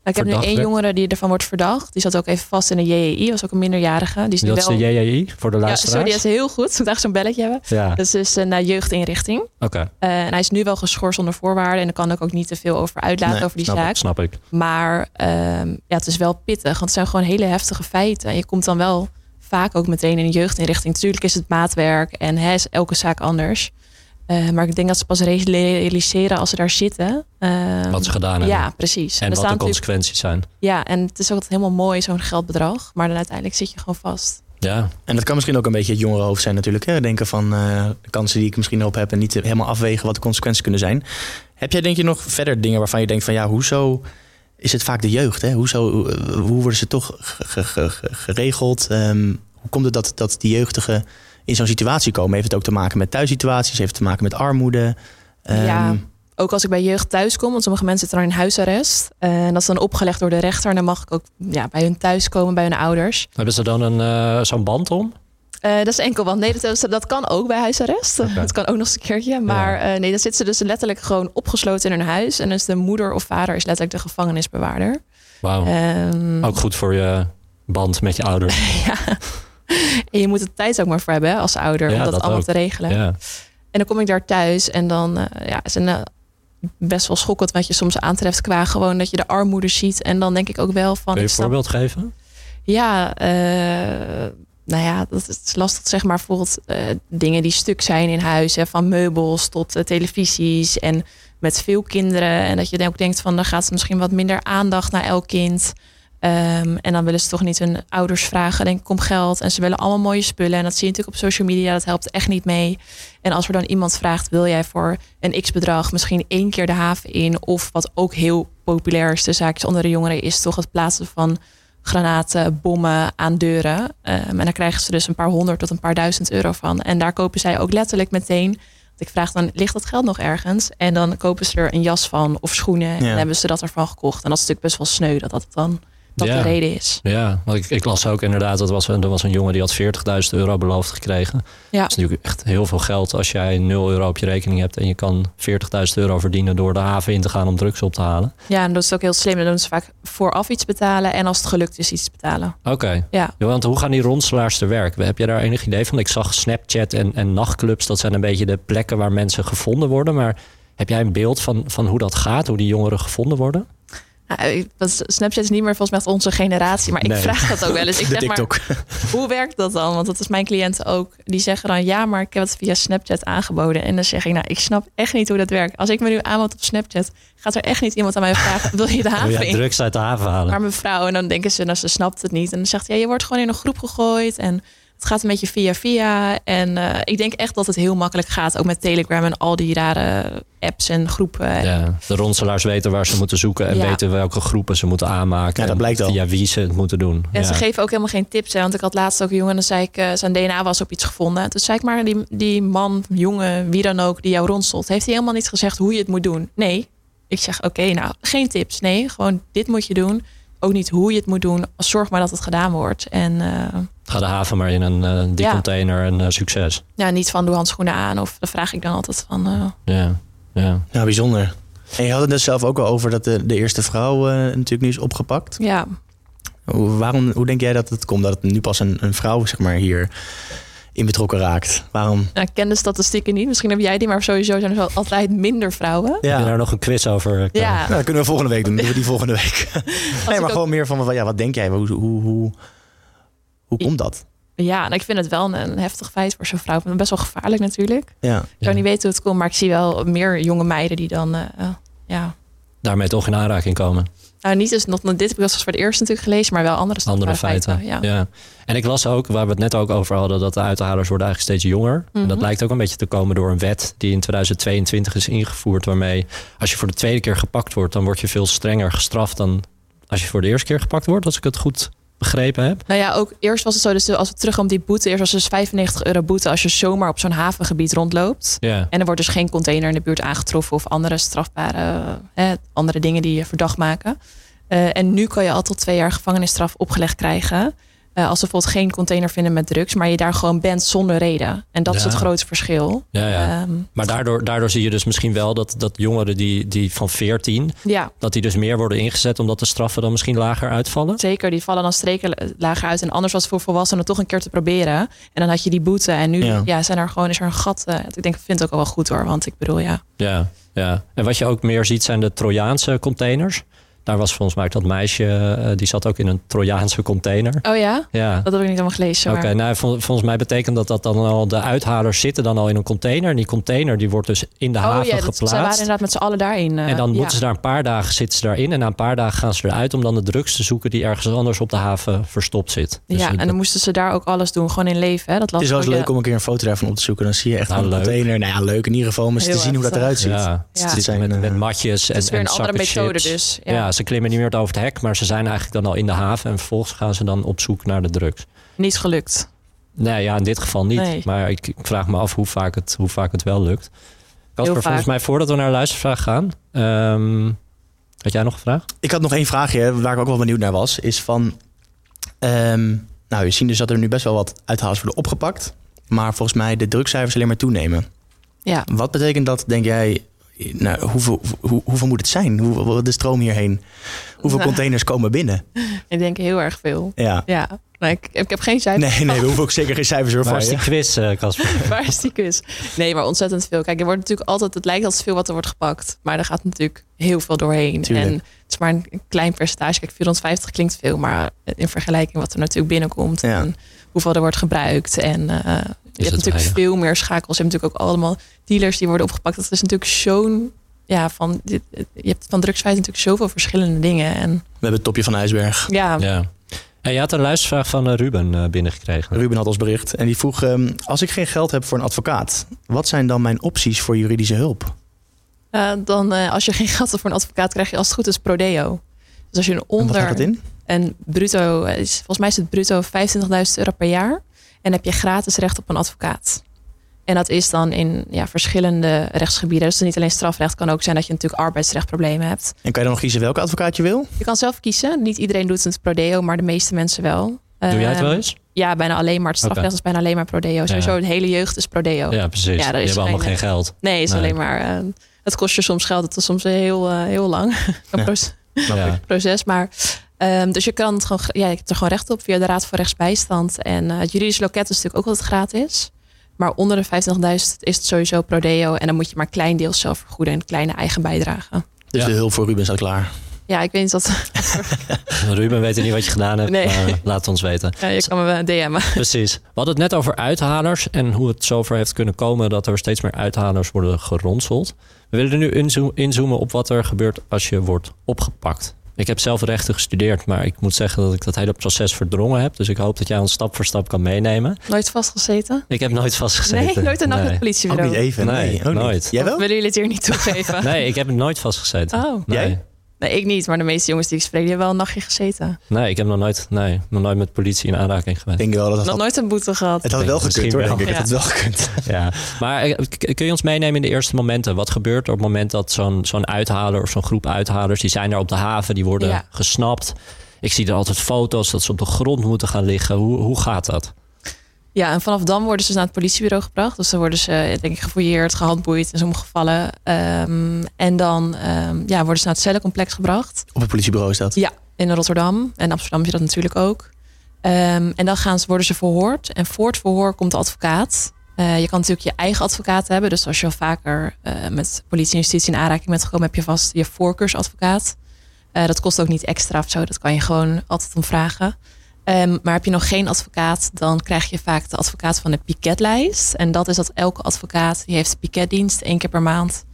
[SPEAKER 2] Ik heb nu
[SPEAKER 1] Verdacht,
[SPEAKER 2] één
[SPEAKER 1] hè?
[SPEAKER 2] jongere die ervan wordt verdacht. Die zat ook even vast in een JEI, was ook een minderjarige. Die is nu
[SPEAKER 1] dat is
[SPEAKER 2] wel...
[SPEAKER 1] de JJI voor de
[SPEAKER 2] ja, sorry, dat
[SPEAKER 1] luisteraars?
[SPEAKER 2] is heel goed. (laughs) Ik dacht zo'n belletje hebben.
[SPEAKER 1] ja,
[SPEAKER 2] Dat is dus een eh, jeugdinrichting.
[SPEAKER 1] oké.
[SPEAKER 2] Eh, en hij is nu wel geschorst zonder voorwaarden. En daar kan ik ook niet te veel over uitlaten
[SPEAKER 3] Nee,
[SPEAKER 2] over die
[SPEAKER 3] snap ik.
[SPEAKER 2] zaak.
[SPEAKER 1] Snap ik.
[SPEAKER 2] Maar ehm, ja, het is wel pittig, want het zijn gewoon hele heftige feiten. En je komt dan wel vaak ook meteen in een jeugdinrichting. Natuurlijk is het maatwerk en hè, is elke zaak anders. Eh, maar ik denk dat ze pas realiseren als ze daar zitten. Ehm,
[SPEAKER 1] Wat ze gedaan hebben.
[SPEAKER 2] ja, precies.
[SPEAKER 1] En
[SPEAKER 2] er
[SPEAKER 1] wat de
[SPEAKER 2] staan natuurlijk-
[SPEAKER 1] consequenties zijn.
[SPEAKER 2] ja, en het is ook altijd helemaal mooi, zo'n geldbedrag. Maar dan uiteindelijk zit je gewoon vast.
[SPEAKER 1] Ja,
[SPEAKER 3] En dat kan misschien ook een beetje het jongerenhoofd zijn natuurlijk. Hè? Denken van eh, de kansen die ik misschien op heb en niet helemaal afwegen wat de consequenties kunnen zijn. Heb jij denk je nog verder dingen waarvan je denkt van ja, hoezo is het vaak de jeugd? Hè? Hoezo, eh, hoe worden ze toch ge- ge- ge- geregeld? Ehm, hoe komt het dat, dat die jeugdigen in zo'n situatie komen? Heeft het ook te maken met thuissituaties? Heeft het te maken met armoede? Ehm,
[SPEAKER 2] Ja. Ook als ik bij jeugd thuis kom, want sommige mensen zitten dan in huisarrest. Eh, en dat is dan opgelegd door de rechter. En dan mag ik ook ja, bij hun thuis komen, bij hun ouders.
[SPEAKER 1] hebben ze dan een, eh, zo'n band om?
[SPEAKER 2] Eh, dat is enkel want Nee, dat, dat kan ook bij huisarrest.
[SPEAKER 1] Oké.
[SPEAKER 2] Dat kan ook nog eens een keertje. Maar eh, nee, dan zitten ze dus letterlijk gewoon opgesloten in hun huis. En dus de moeder of vader is letterlijk de gevangenisbewaarder.
[SPEAKER 1] Wauw.
[SPEAKER 2] Ehm,
[SPEAKER 1] Oh.
[SPEAKER 2] (laughs)
[SPEAKER 1] Ook goed voor je band met je ouders.
[SPEAKER 2] ja. En je moet de tijd ook maar voor hebben hè, als ouder
[SPEAKER 1] Ja,
[SPEAKER 2] om dat,
[SPEAKER 1] dat
[SPEAKER 2] allemaal
[SPEAKER 1] ook.
[SPEAKER 2] te regelen.
[SPEAKER 1] Ja.
[SPEAKER 2] En dan kom ik daar thuis en dan eh, ja, is een, eh, best wel schokkend wat je soms aantreft qua gewoon dat je de armoede ziet. En dan denk ik ook wel
[SPEAKER 1] Kun
[SPEAKER 2] van.
[SPEAKER 1] je
[SPEAKER 2] ik
[SPEAKER 1] een
[SPEAKER 2] snap-
[SPEAKER 1] voorbeeld geven?
[SPEAKER 2] Ja, eh, nou ja, dat is lastig zeg maar. Bijvoorbeeld eh, dingen die stuk zijn in huis, hè, van meubels tot eh, televisies en met veel kinderen. En dat je dan ook denkt van, dan gaat er misschien wat minder aandacht naar elk kind. Ehm, en dan willen ze toch niet hun ouders vragen, denk ik, om geld. En ze willen allemaal mooie spullen. En dat zie je natuurlijk op social media, dat helpt echt niet mee. En als er dan iemand vraagt, wil jij voor een x-bedrag misschien één keer de haven in? Of wat ook heel populair is, de zaakjes onder de jongeren, is toch het plaatsen van granaten, bommen aan deuren. Ehm, en daar krijgen ze dus een paar honderd tot een paar duizend euro van. En daar kopen zij ook letterlijk meteen. Want ik vraag dan, ligt dat geld nog ergens? En dan kopen ze er een jas van of schoenen. En
[SPEAKER 3] Ja.
[SPEAKER 2] dan hebben ze dat ervan gekocht. En dat is natuurlijk best wel sneu dat dat dan dat
[SPEAKER 1] Ja.
[SPEAKER 2] de reden is.
[SPEAKER 1] Ja, want ik, ik las ook inderdaad, dat was, een- er was een jongen die had 40.000 euro beloofd gekregen.
[SPEAKER 2] Ja.
[SPEAKER 1] Dat is natuurlijk echt heel veel geld als jij 0 euro op je rekening hebt en je kan 40.000 euro verdienen door de haven in te gaan om drugs op te halen.
[SPEAKER 2] Ja, en dat is ook heel slim. Dan doen ze vaak vooraf iets betalen. En als het gelukt is, iets betalen.
[SPEAKER 1] Oké.
[SPEAKER 2] Ja.
[SPEAKER 1] Ja, want hoe gaan die ronselaars te werk? Heb je daar enig idee van? Ik zag Snapchat en, en nachtclubs, dat zijn een beetje de plekken waar mensen gevonden worden. Maar heb jij een beeld van, van hoe dat gaat, hoe die jongeren gevonden worden?
[SPEAKER 2] Nou, ik- dat is- Snapchat is niet meer volgens mij echt onze generatie. Maar ik
[SPEAKER 1] Nee.
[SPEAKER 2] vraag dat ook wel eens. Ik
[SPEAKER 3] (laughs) de
[SPEAKER 2] zeg maar,
[SPEAKER 3] TikTok.
[SPEAKER 2] hoe werkt dat dan? Want dat is mijn cliënten ook. Die zeggen dan, ja, maar ik heb het via Snapchat aangeboden. En dan zeg ik, nou, ik snap echt niet hoe dat werkt. Als ik me nu aanmeld op Snapchat, gaat er echt niet iemand aan mij vragen... (laughs) wil je de
[SPEAKER 1] Wil
[SPEAKER 2] haven
[SPEAKER 1] jij
[SPEAKER 2] in?
[SPEAKER 1] drugs uit Oh de haven halen?
[SPEAKER 2] Maar mevrouw, en dan denken ze, nou, ze snapt het niet. En dan zegt hij, ja, je wordt gewoon in een groep gegooid. En het gaat een beetje via via. En eh, ik denk echt dat het heel makkelijk gaat. Ook met Telegram en al die rare apps en groepen.
[SPEAKER 1] Ja, de ronselaars weten waar ze moeten zoeken en
[SPEAKER 2] Ja.
[SPEAKER 1] weten welke groepen ze moeten aanmaken.
[SPEAKER 3] Ja, dat
[SPEAKER 1] en
[SPEAKER 3] blijkt al.
[SPEAKER 1] Via wie ze het moeten doen.
[SPEAKER 2] En
[SPEAKER 1] Ja.
[SPEAKER 2] ze geven ook helemaal geen tips. Hè? Want ik had laatst ook een jongen, dan zei ik, eh, zijn DNA was op iets gevonden. Toen zei ik maar, die, die man, jongen, wie dan ook, die jou rondstelt, heeft hij helemaal niet gezegd hoe je het moet doen? Nee. Ik zeg, oké, nou, geen tips. Nee, gewoon dit moet je doen. Ook niet hoe je het moet doen. Zorg maar dat het gedaan wordt. En eh,
[SPEAKER 1] Ga de haven maar in een eh die
[SPEAKER 2] Ja.
[SPEAKER 1] container en eh, succes.
[SPEAKER 2] ja, niet van doe handschoenen aan. Of dan vraag ik dan altijd van, eh,
[SPEAKER 1] Ja, ja.
[SPEAKER 3] Ja, bijzonder. En je had het net zelf ook al over dat de, de eerste vrouw eh, natuurlijk nu is opgepakt.
[SPEAKER 2] ja,
[SPEAKER 3] Hoe, waarom, hoe denk jij dat het komt dat het nu pas een, een vrouw zeg maar, hier in betrokken raakt? Waarom?
[SPEAKER 2] nou, ik ken de statistieken niet. Misschien heb jij die, maar sowieso zijn er wel altijd minder vrouwen.
[SPEAKER 1] Heb je
[SPEAKER 3] Nou,
[SPEAKER 1] daar nog een quiz over? eh, Karin?
[SPEAKER 2] Ja,
[SPEAKER 3] dat kunnen we volgende week doen. Dan doen we die
[SPEAKER 2] (laughs)
[SPEAKER 3] volgende week.
[SPEAKER 2] als
[SPEAKER 3] Nee,
[SPEAKER 2] ik
[SPEAKER 3] maar
[SPEAKER 2] ook-
[SPEAKER 3] gewoon meer van, ja, wat denk jij? Hoe, hoe, hoe, hoe komt dat?
[SPEAKER 2] ja en ik vind het wel een, een heftig feit voor zo'n vrouw. Best wel gevaarlijk natuurlijk.
[SPEAKER 3] Ja.
[SPEAKER 2] Ik zou
[SPEAKER 1] Ja.
[SPEAKER 2] niet weten hoe het komt, maar ik zie wel meer jonge meiden die dan, eh, eh, ja.
[SPEAKER 1] Daarmee toch in aanraking komen.
[SPEAKER 2] Nou, niet dus nog dit heb ik als voor het eerst natuurlijk gelezen, maar wel andere
[SPEAKER 1] Andere
[SPEAKER 2] standaard
[SPEAKER 1] feiten.
[SPEAKER 2] Ja.
[SPEAKER 1] Ja. En ik las ook, waar we het net ook over hadden, dat de uithalers worden eigenlijk steeds jonger. En dat
[SPEAKER 2] Mhm.
[SPEAKER 1] lijkt ook een beetje te komen door een wet die in 2022 is ingevoerd. Waarmee als je voor de tweede keer gepakt wordt, dan word je veel strenger gestraft dan als je voor de eerste keer gepakt wordt. Als ik het goed begrepen heb.
[SPEAKER 2] Nou ja, ook eerst was het zo, dus als we terug om die boete, eerst was het dus 95 euro boete als je zomaar op zo'n havengebied rondloopt.
[SPEAKER 1] Ja.
[SPEAKER 2] En er wordt dus geen container in de buurt aangetroffen of andere strafbare, eh, andere dingen die je verdacht maken. Eh, en nu kan je al tot twee jaar gevangenisstraf opgelegd krijgen. eh, als ze bijvoorbeeld geen container vinden met drugs, maar je daar gewoon bent zonder reden. En dat is
[SPEAKER 1] Ja.
[SPEAKER 2] het grote verschil.
[SPEAKER 1] Ja, ja.
[SPEAKER 2] Ehm,
[SPEAKER 1] Maar daardoor, daardoor zie je dus misschien wel dat, dat jongeren die, die van 14,
[SPEAKER 2] ja.
[SPEAKER 1] dat die dus meer worden ingezet omdat de straffen dan misschien lager uitvallen.
[SPEAKER 2] Zeker, die vallen dan streken lager uit. En anders was het voor volwassenen toch een keer te proberen. En dan had je die boete. En nu
[SPEAKER 3] Ja.
[SPEAKER 2] ja. zijn er gewoon, is er een gat. eh, ik denk, ik vind het ook wel goed hoor. Want ik bedoel, ja.
[SPEAKER 1] Ja, ja. En wat je ook meer ziet zijn de Trojaanse containers. Daar was volgens mij ook dat meisje, eh, die zat ook in een Trojaanse container.
[SPEAKER 2] Oh ja?
[SPEAKER 1] Ja.
[SPEAKER 2] Dat heb ik niet helemaal gelezen.
[SPEAKER 1] Oké,
[SPEAKER 2] Maar...
[SPEAKER 1] nou vol- volgens mij betekent dat dat dan al de uithalers zitten dan al in een container. En die container die wordt dus in de
[SPEAKER 2] oh
[SPEAKER 1] haven
[SPEAKER 2] ja, dat-
[SPEAKER 1] geplaatst.
[SPEAKER 2] zij waren inderdaad met z'n allen daarin. eh,
[SPEAKER 1] En dan
[SPEAKER 2] ja.
[SPEAKER 1] moeten ze daar een paar dagen zitten ze daarin. En na een paar dagen gaan ze eruit om dan de drugs te zoeken die ergens anders op de haven verstopt zit. Dus
[SPEAKER 2] ja,
[SPEAKER 1] ik-
[SPEAKER 2] en dan moesten ze daar ook alles doen. Gewoon in leven. Hè? Dat las
[SPEAKER 3] Het is wel eens
[SPEAKER 2] ik ook,
[SPEAKER 3] leuk om een keer een foto daarvan op te zoeken. Dan zie je echt
[SPEAKER 1] Nou,
[SPEAKER 3] een
[SPEAKER 1] leuk.
[SPEAKER 3] container. Nou ja, leuk in ieder geval om eens te
[SPEAKER 2] Heel
[SPEAKER 3] zien hoe dat
[SPEAKER 2] erg.
[SPEAKER 3] eruit ziet.
[SPEAKER 1] Ja,
[SPEAKER 2] Ja.
[SPEAKER 1] het zit met,
[SPEAKER 3] Zijn, eh,
[SPEAKER 1] met matjes en,
[SPEAKER 2] Het is weer
[SPEAKER 1] en
[SPEAKER 2] een andere
[SPEAKER 1] zakken
[SPEAKER 2] methode
[SPEAKER 1] chips.
[SPEAKER 2] dus.
[SPEAKER 1] Ja.
[SPEAKER 2] Ja.
[SPEAKER 1] ze klimmen niet meer over het hek, maar ze zijn eigenlijk dan al in de haven. En vervolgens gaan ze dan op zoek naar de drugs.
[SPEAKER 2] Niet gelukt.
[SPEAKER 1] Nee, ja, in dit geval niet.
[SPEAKER 2] Nee.
[SPEAKER 1] Maar ik, ik vraag me af hoe vaak het, hoe vaak het wel lukt. Casper,
[SPEAKER 2] vaak.
[SPEAKER 1] volgens mij voordat we naar de luistervraag gaan... ehm, had jij nog een vraag?
[SPEAKER 3] Ik had nog één vraagje hè, waar ik ook wel benieuwd naar was. Is van. ehm, nou, je ziet dus dat er nu best wel wat uithalers worden opgepakt. Maar volgens mij de drukcijfers alleen maar toenemen.
[SPEAKER 2] Ja.
[SPEAKER 3] Wat betekent dat, denk jij, nou, hoeveel, hoe, hoeveel moet het zijn? Hoe, wat de stroom hierheen? Hoeveel
[SPEAKER 2] Nou.
[SPEAKER 3] containers komen binnen?
[SPEAKER 2] Ik denk heel erg veel.
[SPEAKER 3] Ja.
[SPEAKER 2] Ja, nou, ik, ik heb geen cijfers.
[SPEAKER 3] Nee, nee, we hoeven ook zeker geen cijfers ervoor.
[SPEAKER 1] Waar is die
[SPEAKER 3] ja.
[SPEAKER 1] quiz, eh, Casper?
[SPEAKER 2] (laughs) Waar is die quiz? Nee, maar ontzettend veel. Kijk, er wordt natuurlijk altijd, het lijkt altijd veel wat er wordt gepakt. Maar er gaat natuurlijk heel veel doorheen.
[SPEAKER 3] Tuurlijk.
[SPEAKER 2] En het is maar een klein percentage. Kijk, 450 klinkt veel, maar in vergelijking wat er natuurlijk binnenkomt.
[SPEAKER 3] Ja.
[SPEAKER 2] En hoeveel er wordt gebruikt. En eh, je
[SPEAKER 1] het
[SPEAKER 2] hebt natuurlijk
[SPEAKER 1] weinig?
[SPEAKER 2] veel meer schakels. Je hebt natuurlijk ook allemaal dealers die worden opgepakt. Dat is natuurlijk zo'n, ja, van, dit- je hebt van drugsfeit natuurlijk zoveel verschillende dingen. En
[SPEAKER 3] We hebben het topje van de ijsberg.
[SPEAKER 2] ja,
[SPEAKER 1] Ja. Hey, je had een luistervraag van eh, Ruben eh, binnengekregen.
[SPEAKER 3] Ruben had ons bericht en die vroeg: ehm, Als ik geen geld heb voor een advocaat, wat zijn dan mijn opties voor juridische hulp?
[SPEAKER 2] eh, dan eh, als je geen geld hebt voor een advocaat, krijg je als het goed is prodeo. Dus als je een
[SPEAKER 3] En
[SPEAKER 2] onder...
[SPEAKER 3] wat gaat dat in?
[SPEAKER 2] En bruto, eh, is- volgens mij is het bruto 25.000 euro per jaar. En heb je gratis recht op een advocaat. En dat is dan in ja, verschillende rechtsgebieden. Dus niet alleen strafrecht, kan ook zijn dat je natuurlijk arbeidsrechtproblemen hebt.
[SPEAKER 3] En kan je dan nog kiezen welke advocaat je wil?
[SPEAKER 2] Je kan zelf kiezen. Niet iedereen doet het prodeo, maar de meeste mensen wel. Ehm,
[SPEAKER 1] Doe jij het wel eens?
[SPEAKER 2] Ja, bijna alleen maar. Het strafrecht
[SPEAKER 1] Oké.
[SPEAKER 2] is bijna alleen maar prodeo. Sowieso, de hele jeugd is prodeo.
[SPEAKER 1] oh. Ja, precies.
[SPEAKER 2] Ja,
[SPEAKER 1] Die
[SPEAKER 2] er
[SPEAKER 1] hebben
[SPEAKER 2] is
[SPEAKER 1] allemaal
[SPEAKER 2] geen-
[SPEAKER 1] geen eh, (laughs) geld.
[SPEAKER 2] Nee, is
[SPEAKER 1] Nee.
[SPEAKER 2] alleen maar... eh, het kost je soms geld. Het is soms heel, eh, heel lang. (laughs) Een
[SPEAKER 3] Ja.
[SPEAKER 2] proces
[SPEAKER 3] Snap
[SPEAKER 1] Ja.
[SPEAKER 3] ik.
[SPEAKER 2] proces. Maar, ehm, dus je, kan het gewoon, ja, je hebt er gewoon recht op via de Raad voor Rechtsbijstand. En eh, het juridisch loket is natuurlijk ook altijd gratis. Maar onder de 50.000 is het sowieso prodeo. En dan moet je maar klein deels zelf vergoeden en kleine eigen bijdrage.
[SPEAKER 3] Dus
[SPEAKER 1] Ja.
[SPEAKER 3] de hulp voor Ruben staat klaar.
[SPEAKER 2] Ja, ik weet niet wat. (laughs)
[SPEAKER 1] Ruben weet niet wat je gedaan hebt,
[SPEAKER 2] Nee.
[SPEAKER 1] maar laat het ons weten.
[SPEAKER 2] Ja, je kan me wel DM'en.
[SPEAKER 1] Precies. We hadden het net over uithalers en hoe het zover heeft kunnen komen dat er steeds meer uithalers worden geronseld. We willen er nu inzo- inzoomen op wat er gebeurt als je wordt opgepakt. Ik heb zelf rechten gestudeerd, maar ik moet zeggen dat ik dat hele proces verdrongen heb. Dus ik hoop dat jij ons stap voor stap kan meenemen.
[SPEAKER 2] Nooit vastgezeten?
[SPEAKER 1] Ik heb nooit vastgezeten.
[SPEAKER 2] Nee, nooit een
[SPEAKER 1] Nee.
[SPEAKER 2] nacht met het
[SPEAKER 3] Ook
[SPEAKER 2] politiebureau.
[SPEAKER 3] niet even. Nee,
[SPEAKER 1] Nee,
[SPEAKER 3] ook niet.
[SPEAKER 1] nooit.
[SPEAKER 3] Oh, Jij wel?
[SPEAKER 2] Willen jullie het hier niet toegeven?
[SPEAKER 1] Nee, ik heb nooit vastgezeten.
[SPEAKER 2] Oh,
[SPEAKER 1] Nee.
[SPEAKER 3] Jij?
[SPEAKER 2] nee, ik niet. Maar de meeste jongens die ik spreek, die hebben wel een nachtje gezeten.
[SPEAKER 1] Nee, ik heb nog nooit, nee, nog nooit met politie in aanraking
[SPEAKER 3] Ik
[SPEAKER 1] geweest.
[SPEAKER 3] denk wel dat het
[SPEAKER 2] Nog
[SPEAKER 3] had,
[SPEAKER 2] nooit een boete gehad.
[SPEAKER 3] het had wel gekund hoor, denk ik. Het had wel gekund.
[SPEAKER 1] Ja. Maar eh, k- kun je ons meenemen in de eerste momenten? Wat gebeurt er op het moment dat zo'n zo'n uithaler of zo'n groep uithalers, die zijn er op de haven, die worden
[SPEAKER 2] Ja.
[SPEAKER 1] gesnapt. Ik zie er altijd foto's dat ze op de grond moeten gaan liggen. Hoe, hoe gaat dat?
[SPEAKER 2] Ja, en vanaf dan worden ze dus naar het politiebureau gebracht. Dus dan worden ze, eh, denk ik, gefouilleerd, gehandboeid in sommige gevallen. Ehm, en dan ehm, ja, worden ze naar het cellencomplex gebracht
[SPEAKER 3] Op het politiebureau is dat.
[SPEAKER 2] in Rotterdam. En Amsterdam heb je dat natuurlijk ook. Ehm, en dan gaan ze, worden ze verhoord. En voor het verhoor komt de advocaat. Eh, je kan natuurlijk je eigen advocaat hebben. Dus als je al vaker eh, met politie en justitie in aanraking bent gekomen, heb je vast je voorkeursadvocaat. Eh, dat kost ook niet extra of zo. Dat kan je gewoon altijd om vragen. Ehm, maar heb je nog geen advocaat, dan krijg je vaak de advocaat van de piketlijst. En dat is dat elke advocaat die heeft piketdienst één keer per maand.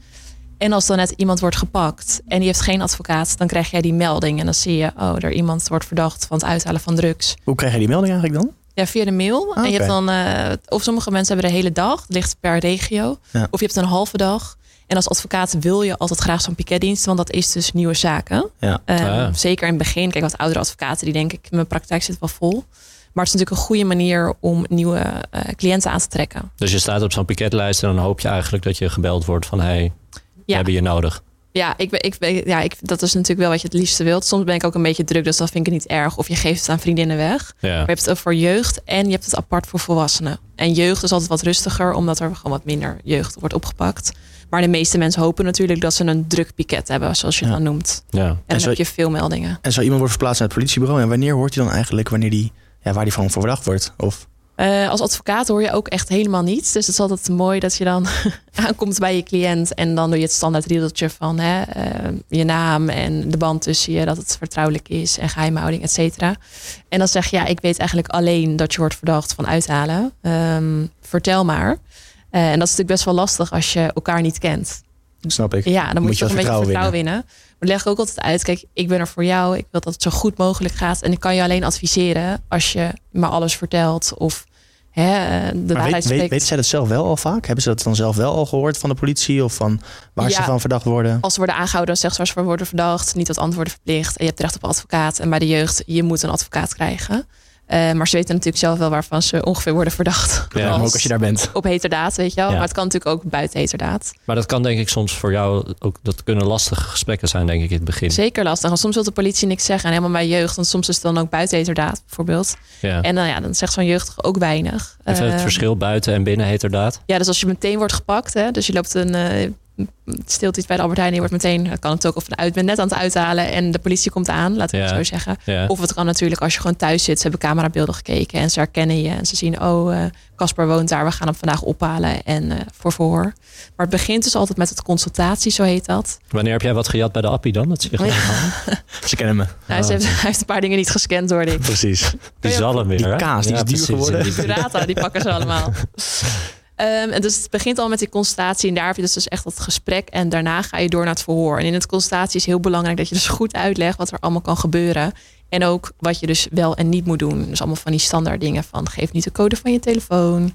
[SPEAKER 2] En als dan net iemand wordt gepakt en die heeft geen advocaat, dan krijg jij die melding. En dan zie je, oh, er iemand wordt verdacht van het uithalen van drugs.
[SPEAKER 3] Hoe krijg je die melding eigenlijk dan?
[SPEAKER 2] Ja, via de mail. En je
[SPEAKER 3] oké.
[SPEAKER 2] hebt dan, eh, of sommige mensen hebben de hele dag, het ligt per regio.
[SPEAKER 3] Ja.
[SPEAKER 2] Of je hebt een halve dag. En als advocaat wil je altijd graag zo'n piketdienst, want dat is dus nieuwe zaken.
[SPEAKER 3] Ja.
[SPEAKER 2] Ehm,
[SPEAKER 1] Ah.
[SPEAKER 2] Zeker in het begin. Kijk, wat oudere advocaten die denken, ik, mijn praktijk zit wel vol. Maar het is natuurlijk een goede manier om nieuwe eh, cliënten aan te trekken.
[SPEAKER 1] Dus je staat op zo'n piketlijst en dan hoop je eigenlijk dat je gebeld wordt van... hé, hey, we
[SPEAKER 2] Ja.
[SPEAKER 1] hebben je nodig.
[SPEAKER 2] Ja, ik ben, ik ben, ja ik, dat is natuurlijk wel wat je het liefste wilt. Soms ben ik ook een beetje druk, dus dat vind ik niet erg. Of je geeft het aan vriendinnen weg.
[SPEAKER 1] Ja.
[SPEAKER 2] Maar je hebt het ook voor jeugd en je hebt het apart voor volwassenen. En jeugd is altijd wat rustiger, omdat er gewoon wat minder jeugd wordt opgepakt. Maar de meeste mensen hopen natuurlijk dat ze een druk piket hebben, zoals je het
[SPEAKER 3] Ja.
[SPEAKER 2] dan noemt.
[SPEAKER 1] Ja.
[SPEAKER 2] En
[SPEAKER 3] zo-
[SPEAKER 2] dan heb je veel meldingen.
[SPEAKER 3] En zou iemand worden verplaatst naar het politiebureau? En wanneer hoort hij dan eigenlijk wanneer die, ja, waar die van voor verdacht wordt? Of
[SPEAKER 2] Eh, als advocaat hoor je ook echt helemaal niets. Dus het is altijd mooi dat je dan (laughs) aankomt bij je cliënt. En dan doe je het standaard riedeltje van hè, eh, je naam en de band tussen je. Dat het vertrouwelijk is en geheimhouding, et cetera. En dan zeg je, ja, ik weet eigenlijk alleen dat je wordt verdacht van uithalen. Ehm, vertel maar. Eh, en dat is natuurlijk best wel lastig als je elkaar niet kent.
[SPEAKER 3] snap ik?
[SPEAKER 2] Ja, dan moet,
[SPEAKER 3] Moet
[SPEAKER 2] je
[SPEAKER 3] je
[SPEAKER 2] toch een
[SPEAKER 3] wel
[SPEAKER 2] beetje
[SPEAKER 3] vertrouwen
[SPEAKER 2] vertrouwen winnen. Maar leg ik ook altijd uit, kijk, ik ben er voor jou. Ik wil dat het zo goed mogelijk gaat. En ik kan je alleen adviseren als je me alles vertelt of hè, eh, de
[SPEAKER 3] Maar
[SPEAKER 2] waarheid
[SPEAKER 3] weet, weet,
[SPEAKER 2] spreekt.
[SPEAKER 3] weten zij dat zelf wel al vaak? Hebben ze dat dan zelf wel al gehoord van de politie of van waar ze
[SPEAKER 2] Ja.
[SPEAKER 3] van verdacht worden?
[SPEAKER 2] Als ze worden aangehouden, dan zegt ze als ze worden verdacht, niet dat antwoorden verplicht. En je hebt recht op een advocaat. En bij de jeugd, je moet een advocaat krijgen. Eh, maar ze weten natuurlijk zelf wel waarvan ze ongeveer worden verdacht.
[SPEAKER 1] Ja,
[SPEAKER 3] maar
[SPEAKER 1] als-
[SPEAKER 3] ook als je daar bent.
[SPEAKER 2] Op heterdaad, weet je wel.
[SPEAKER 1] Ja.
[SPEAKER 2] Maar het kan natuurlijk ook buiten heterdaad.
[SPEAKER 1] Maar dat kan denk ik soms voor jou ook... dat kunnen lastige gesprekken zijn denk ik in het begin.
[SPEAKER 2] Zeker lastig. Want soms wil de politie niks zeggen. En helemaal bij jeugd. Want soms is het dan ook buiten heterdaad, bijvoorbeeld.
[SPEAKER 1] Ja.
[SPEAKER 2] En dan, ja, dan zegt zo'n jeugdige ook weinig.
[SPEAKER 1] Even het
[SPEAKER 2] Eh,
[SPEAKER 1] verschil buiten en binnen heterdaad.
[SPEAKER 2] Ja, dus als je meteen wordt gepakt, hè, dus je loopt een eh, stilt iets bij de Albert Heijn. en Je wordt meteen, dat kan het ook of vanuit. Ik ben net aan het uithalen en de politie komt aan, laten we
[SPEAKER 1] Ja.
[SPEAKER 2] het zo zeggen.
[SPEAKER 1] Ja.
[SPEAKER 2] Of het kan natuurlijk als je gewoon thuis zit. Ze hebben camerabeelden gekeken en ze herkennen je. En ze zien, oh, eh, Casper woont daar. We gaan hem vandaag ophalen en eh, voor verhoor. Maar het begint dus altijd met het consultatie, zo heet dat.
[SPEAKER 1] Wanneer heb jij wat gejat bij de appie dan? Dat ze je
[SPEAKER 2] Oh Ja.
[SPEAKER 1] gedaan hebben?
[SPEAKER 3] Ze kennen me.
[SPEAKER 2] Nou, (laughs) ze
[SPEAKER 1] Oh.
[SPEAKER 2] heeft, (laughs) hij heeft een paar dingen niet gescand, hoorde ik.
[SPEAKER 3] Precies.
[SPEAKER 1] (laughs) Die
[SPEAKER 2] Oh ja.
[SPEAKER 1] zalm weer,
[SPEAKER 3] Die
[SPEAKER 1] hè?
[SPEAKER 3] kaas, die is duur
[SPEAKER 1] precies.
[SPEAKER 3] geworden.
[SPEAKER 1] Die-
[SPEAKER 2] Curata, die pakken ze allemaal. Ehm, en dus het begint al met die constatatie. En daar heb je dus, dus echt dat gesprek. En daarna ga je door naar het verhoor. En in het constatatie is heel belangrijk dat je dus goed uitlegt wat er allemaal kan gebeuren. En ook wat je dus wel en niet moet doen. Dus allemaal van die standaard dingen van geef niet de code van je telefoon.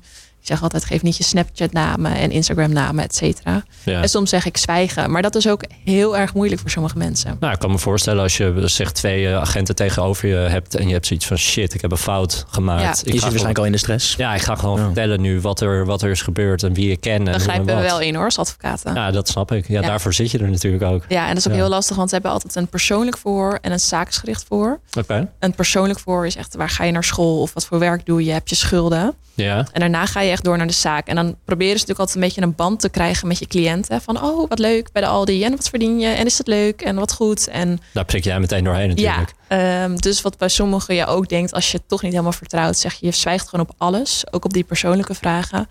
[SPEAKER 2] Ik zeg altijd geef niet je Snapchat namen en Instagram namen, et cetera.
[SPEAKER 1] Ja.
[SPEAKER 2] En soms zeg ik zwijgen. Maar dat is ook heel erg moeilijk voor sommige mensen.
[SPEAKER 1] Nou, ik kan me voorstellen als je zeg twee eh, agenten tegenover je hebt en je hebt zoiets van shit, ik heb een fout gemaakt.
[SPEAKER 2] Ja.
[SPEAKER 1] Ik ga
[SPEAKER 2] Je
[SPEAKER 3] Je zit
[SPEAKER 1] gewoon-
[SPEAKER 3] waarschijnlijk al in de stress.
[SPEAKER 1] Ja, ik ga gewoon
[SPEAKER 3] Ja.
[SPEAKER 1] vertellen nu wat er, wat er is gebeurd en wie ik ken. En
[SPEAKER 2] Dan
[SPEAKER 1] hoe en
[SPEAKER 2] grijpen we
[SPEAKER 1] wat.
[SPEAKER 2] wel in hoor, als advocaten.
[SPEAKER 1] Ja, dat snap ik. Ja,
[SPEAKER 2] Ja.
[SPEAKER 1] daarvoor zit je er natuurlijk ook.
[SPEAKER 2] Ja, en dat is ook
[SPEAKER 1] Ja.
[SPEAKER 2] heel lastig, want ze hebben altijd een persoonlijk verhoor en een zaaksgericht verhoor.
[SPEAKER 1] Oké.
[SPEAKER 2] Een persoonlijk verhoor is echt waar ga je naar school of wat voor werk doe je, heb je schulden.
[SPEAKER 1] Ja.
[SPEAKER 2] En daarna ga je echt door naar de zaak. En dan proberen ze natuurlijk altijd een beetje een band te krijgen met je cliënten. Van oh, wat leuk bij de Aldi en wat verdien je en is dat leuk en wat goed. En
[SPEAKER 1] Daar prik jij meteen doorheen natuurlijk.
[SPEAKER 2] ja, ehm, dus wat bij sommigen je ook denkt als je het toch niet helemaal vertrouwt, zeg je je zwijgt gewoon op alles, ook op die persoonlijke vragen.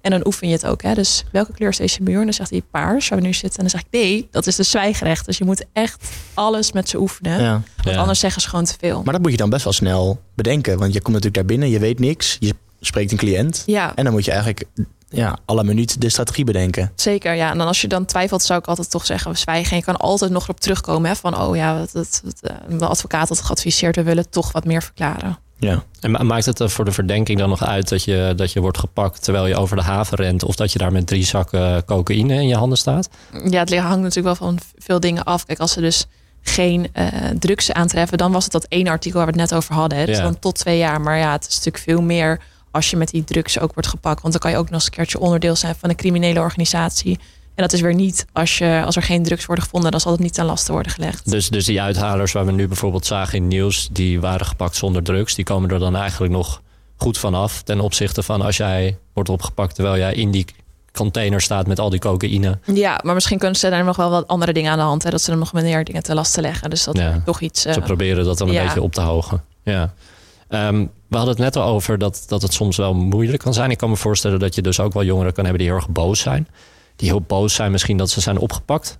[SPEAKER 2] En dan oefen je het ook. Hè? Dus welke kleur is deze muur? En dan zegt hij paars, waar we nu zitten. En dan zeg ik nee, dat is de zwijgrecht. Dus je moet echt alles met ze oefenen.
[SPEAKER 3] Ja.
[SPEAKER 1] Ja.
[SPEAKER 2] Want anders zeggen ze gewoon te veel.
[SPEAKER 3] Maar dat moet je dan best wel snel bedenken. Want je komt natuurlijk daar binnen, je weet niks, je spreekt een cliënt.
[SPEAKER 2] Ja,
[SPEAKER 3] En dan moet je eigenlijk ja, alle minuut de strategie bedenken.
[SPEAKER 2] zeker. Ja. En dan als je dan twijfelt, zou ik altijd toch zeggen, we zwijgen. En je kan altijd nog erop terugkomen hè, van, oh ja, dat, dat, dat, eh, de advocaat had geadviseerd, we willen toch wat meer verklaren.
[SPEAKER 3] Ja.
[SPEAKER 1] En ma- maakt het er voor de verdenking dan nog uit dat je, dat je wordt gepakt terwijl je over de haven rent of dat je daar met drie zakken cocaïne in je handen staat?
[SPEAKER 2] Ja, het hangt natuurlijk wel van veel dingen af. Kijk, als ze dus geen eh, drugs aantreffen, dan was het dat één artikel waar we het net over hadden. Hè? Dus
[SPEAKER 1] Ja.
[SPEAKER 2] dan tot twee jaar. Maar ja, het is natuurlijk veel meer als je met die drugs ook wordt gepakt. Want dan kan je ook nog eens een keertje onderdeel zijn van een criminele organisatie. En dat is weer niet als, je, als er geen drugs worden gevonden, dan zal het niet ten laste worden gelegd.
[SPEAKER 1] Dus, dus die uithalers waar we nu bijvoorbeeld zagen in het nieuws, die waren gepakt zonder drugs. Die komen er dan eigenlijk nog goed vanaf ten opzichte van als jij wordt opgepakt terwijl jij in die container staat met al die cocaïne.
[SPEAKER 2] Ja, maar misschien kunnen ze daar nog wel wat andere dingen aan de hand. Hè? Dat ze er nog meer dingen ten laste leggen. Dus dat
[SPEAKER 1] Ja.
[SPEAKER 2] er toch iets. eh,
[SPEAKER 1] Ze proberen dat dan een
[SPEAKER 2] ja.
[SPEAKER 1] beetje op te hogen. Ja. Ehm, we hadden het net al over dat, dat het soms wel moeilijk kan zijn. Ik kan me voorstellen dat je dus ook wel jongeren kan hebben die heel erg boos zijn. Die heel boos zijn misschien dat ze zijn opgepakt.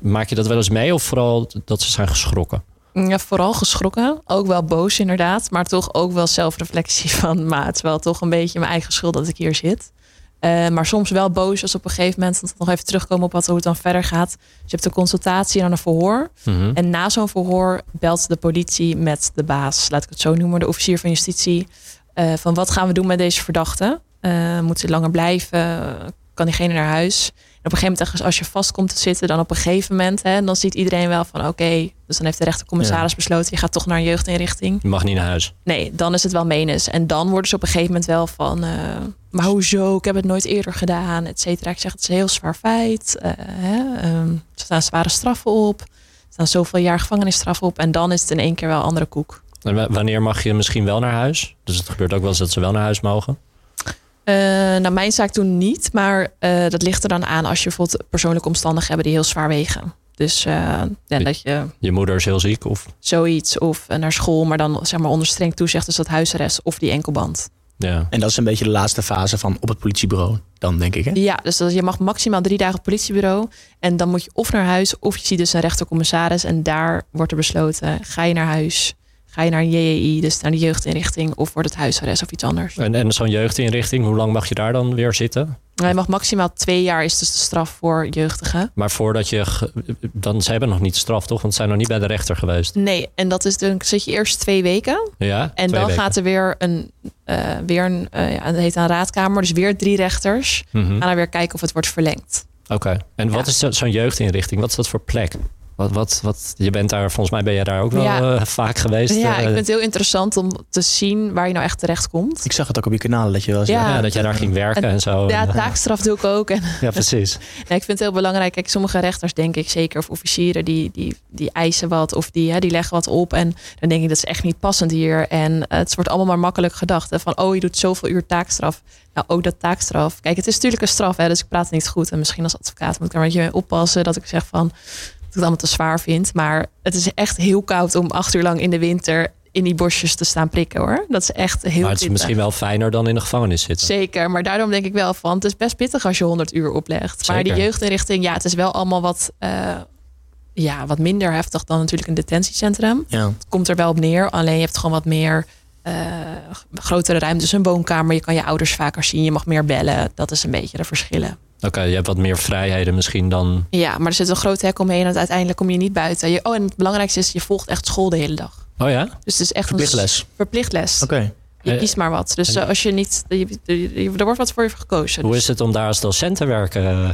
[SPEAKER 1] Maak je dat wel eens mee of vooral dat ze zijn geschrokken?
[SPEAKER 2] Ja, vooral geschrokken. Ook wel boos inderdaad. Maar toch ook wel zelfreflectie (laughs) van... maar het is wel toch een beetje mijn eigen schuld dat ik hier zit. Eh, maar soms wel boos als op een gegeven moment... want nog even terugkomen op wat, hoe het dan verder gaat. Dus je hebt een consultatie en dan een verhoor. En na zo'n verhoor belt de politie met de baas. Laat ik het zo noemen, de officier van justitie. eh, van wat gaan we doen met deze verdachte? Eh, moet ze langer blijven? Kan diegene naar huis? En op een gegeven moment, als je vast komt te zitten, dan op een gegeven moment, hè, dan ziet iedereen wel van oké, dus dan heeft de rechtercommissaris besloten, je gaat toch naar een jeugdinrichting.
[SPEAKER 1] Je mag niet naar huis.
[SPEAKER 2] Nee, dan is het wel menens. En dan worden ze op een gegeven moment wel van, eh, maar hoezo, ik heb het nooit eerder gedaan, et cetera. Ik zeg, het is een heel zwaar feit. Eh, hè, ehm, er staan zware straffen op, er staan zoveel jaar gevangenisstraf op. En dan is het in één keer wel een andere koek.
[SPEAKER 1] En wa- wanneer mag je misschien wel naar huis? Dus het gebeurt ook wel eens dat ze wel naar huis mogen.
[SPEAKER 2] Eh, nou, mijn zaak toen niet, maar eh, dat ligt er dan aan als je bijvoorbeeld persoonlijke omstandigheden hebt die heel zwaar wegen. Dus eh, ja, dat je
[SPEAKER 1] Je moeder is heel ziek of...
[SPEAKER 2] zoiets of eh, naar school, maar dan zeg maar onder streng toezicht, dus dat huisarrest of die enkelband.
[SPEAKER 1] Ja.
[SPEAKER 3] En dat is een beetje de laatste fase van op het politiebureau, dan denk ik. Hè?
[SPEAKER 2] Ja, dus dat, je mag maximaal drie dagen op politiebureau en dan moet je of naar huis of je ziet dus een rechtercommissaris en daar wordt er besloten, ga je naar huis, ga je naar een JJI, dus naar de jeugdinrichting of wordt het huisarrest of iets anders.
[SPEAKER 1] En, en zo'n jeugdinrichting, hoe lang mag je daar dan weer zitten?
[SPEAKER 2] Maar Je mag maximaal twee jaar is dus de straf voor jeugdigen.
[SPEAKER 1] Maar voordat je... ge- Dan, ze hebben nog niet straf, toch? Want ze zijn nog niet bij de rechter geweest.
[SPEAKER 2] Nee, en dat is dan zit je eerst twee weken
[SPEAKER 1] Ja,
[SPEAKER 2] En
[SPEAKER 1] Twee
[SPEAKER 2] dan
[SPEAKER 1] weken.
[SPEAKER 2] gaat er weer een, eh, weer een eh, ja, het heet een raadkamer, dus weer drie rechters.
[SPEAKER 1] Mhm.
[SPEAKER 2] Gaan er weer kijken of het wordt verlengd.
[SPEAKER 1] Oké. En wat
[SPEAKER 2] Ja.
[SPEAKER 1] is zo- zo'n jeugdinrichting? Wat is dat voor plek? Wat Wat, wat, wat, je bent daar, volgens mij ben je daar ook wel
[SPEAKER 2] Ja.
[SPEAKER 1] eh, vaak geweest.
[SPEAKER 2] ja,
[SPEAKER 1] eh,
[SPEAKER 2] ik vind het heel interessant om te zien waar je nou echt terecht komt.
[SPEAKER 3] Ik zag het ook op je kanalen dat je wel eens...
[SPEAKER 2] Ja.
[SPEAKER 1] ja, dat jij daar ging werken en, zo.
[SPEAKER 2] Ja, taakstraf doe ik ook. En
[SPEAKER 1] (laughs) Ja, precies.
[SPEAKER 2] Nee, Nou, ik vind het heel belangrijk. Kijk, sommige rechters, denk ik zeker, of officieren, die, die, die eisen wat of die, hè, die leggen wat op. En dan denk ik, dat is echt niet passend hier. En eh, het wordt allemaal maar makkelijk gedacht. Hè, van, oh, je doet zoveel uur taakstraf. Nou, ook dat taakstraf. Kijk, het is natuurlijk een straf, hè, dus ik praat niet goed. En misschien als advocaat moet ik daar een beetje mee oppassen dat ik zeg van, dat ik het allemaal te zwaar vind. Maar het is echt heel koud om acht uur lang in de winter in die bosjes te staan prikken, hoor. Dat is echt heel
[SPEAKER 1] maar het is
[SPEAKER 2] pittig.
[SPEAKER 1] misschien wel fijner dan in de gevangenis zitten.
[SPEAKER 2] Zeker, maar daarom denk ik wel van... het is best pittig als je 100 uur oplegt. Maar
[SPEAKER 1] Zeker.
[SPEAKER 2] die jeugdinrichting, ja, het is wel allemaal wat, eh, ja, wat minder heftig... dan natuurlijk een detentiecentrum.
[SPEAKER 3] Ja.
[SPEAKER 2] Het komt er wel op neer, alleen je hebt gewoon wat meer... eh, grotere ruimtes, een woonkamer. Je kan je ouders vaker zien, je mag meer bellen. Dat is een beetje de verschillen.
[SPEAKER 1] Oké, je hebt wat meer vrijheden misschien dan...
[SPEAKER 2] Ja, maar er zit een groot hek omheen... en uiteindelijk kom je niet buiten. Je, oh, en het belangrijkste is, je volgt echt school de hele dag.
[SPEAKER 1] Oh ja?
[SPEAKER 2] Dus het is echt
[SPEAKER 3] Verplicht
[SPEAKER 2] een s-
[SPEAKER 3] les.
[SPEAKER 2] verplicht les.
[SPEAKER 3] Oké.
[SPEAKER 2] Je
[SPEAKER 1] Eh,
[SPEAKER 2] kiest maar wat. Dus
[SPEAKER 1] en-
[SPEAKER 2] eh, als je niet... je- je- je- er wordt wat voor je gekozen.
[SPEAKER 1] Hoe
[SPEAKER 2] Dus-
[SPEAKER 1] is het om daar als docent te werken? Eh,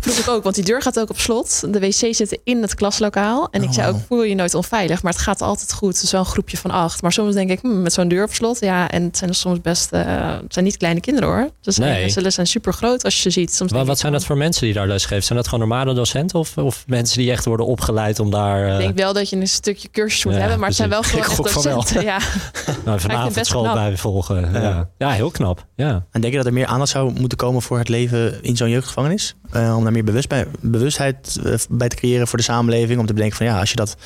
[SPEAKER 2] vroeg ik ook, want die deur gaat ook op slot. De wc's zitten in het klaslokaal. En
[SPEAKER 3] Oh,
[SPEAKER 2] ik zei ook,
[SPEAKER 3] wauw.
[SPEAKER 2] voel je nooit onveilig. Maar het gaat altijd goed. Het is wel een groepje van acht. Maar soms denk ik, hmm, met zo'n deur op slot. Ja, en het zijn soms best... eh, het zijn niet kleine kinderen hoor. Dus
[SPEAKER 1] Nee.
[SPEAKER 2] Ze zijn super groot als je ze ziet. Soms
[SPEAKER 1] Wat,
[SPEAKER 2] denk
[SPEAKER 1] wat
[SPEAKER 2] ik
[SPEAKER 1] zijn
[SPEAKER 2] van-
[SPEAKER 1] dat voor mensen die daar les geven? Zijn dat gewoon normale docenten of, of mensen die echt worden opgeleid om daar... eh,
[SPEAKER 2] Ik denk wel dat je een stukje cursus moet
[SPEAKER 1] Ja,
[SPEAKER 2] hebben. Maar het zijn wel
[SPEAKER 3] precies.
[SPEAKER 2] gewoon echt
[SPEAKER 3] Ik gok van wel.
[SPEAKER 2] docenten. Ja.
[SPEAKER 1] Nou,
[SPEAKER 2] het
[SPEAKER 1] vanavond
[SPEAKER 2] best
[SPEAKER 1] school
[SPEAKER 2] knap.
[SPEAKER 1] bij volgen. Ja. Ja.
[SPEAKER 3] Ja.
[SPEAKER 1] heel knap. Ja.
[SPEAKER 3] En denk je dat er meer aandacht zou moeten komen voor het leven in zo'n jeugdgevangenis? Eh, om daar meer bewust bij- bewustheid eh, bij te creëren voor de samenleving. Om te bedenken van ja, als je dat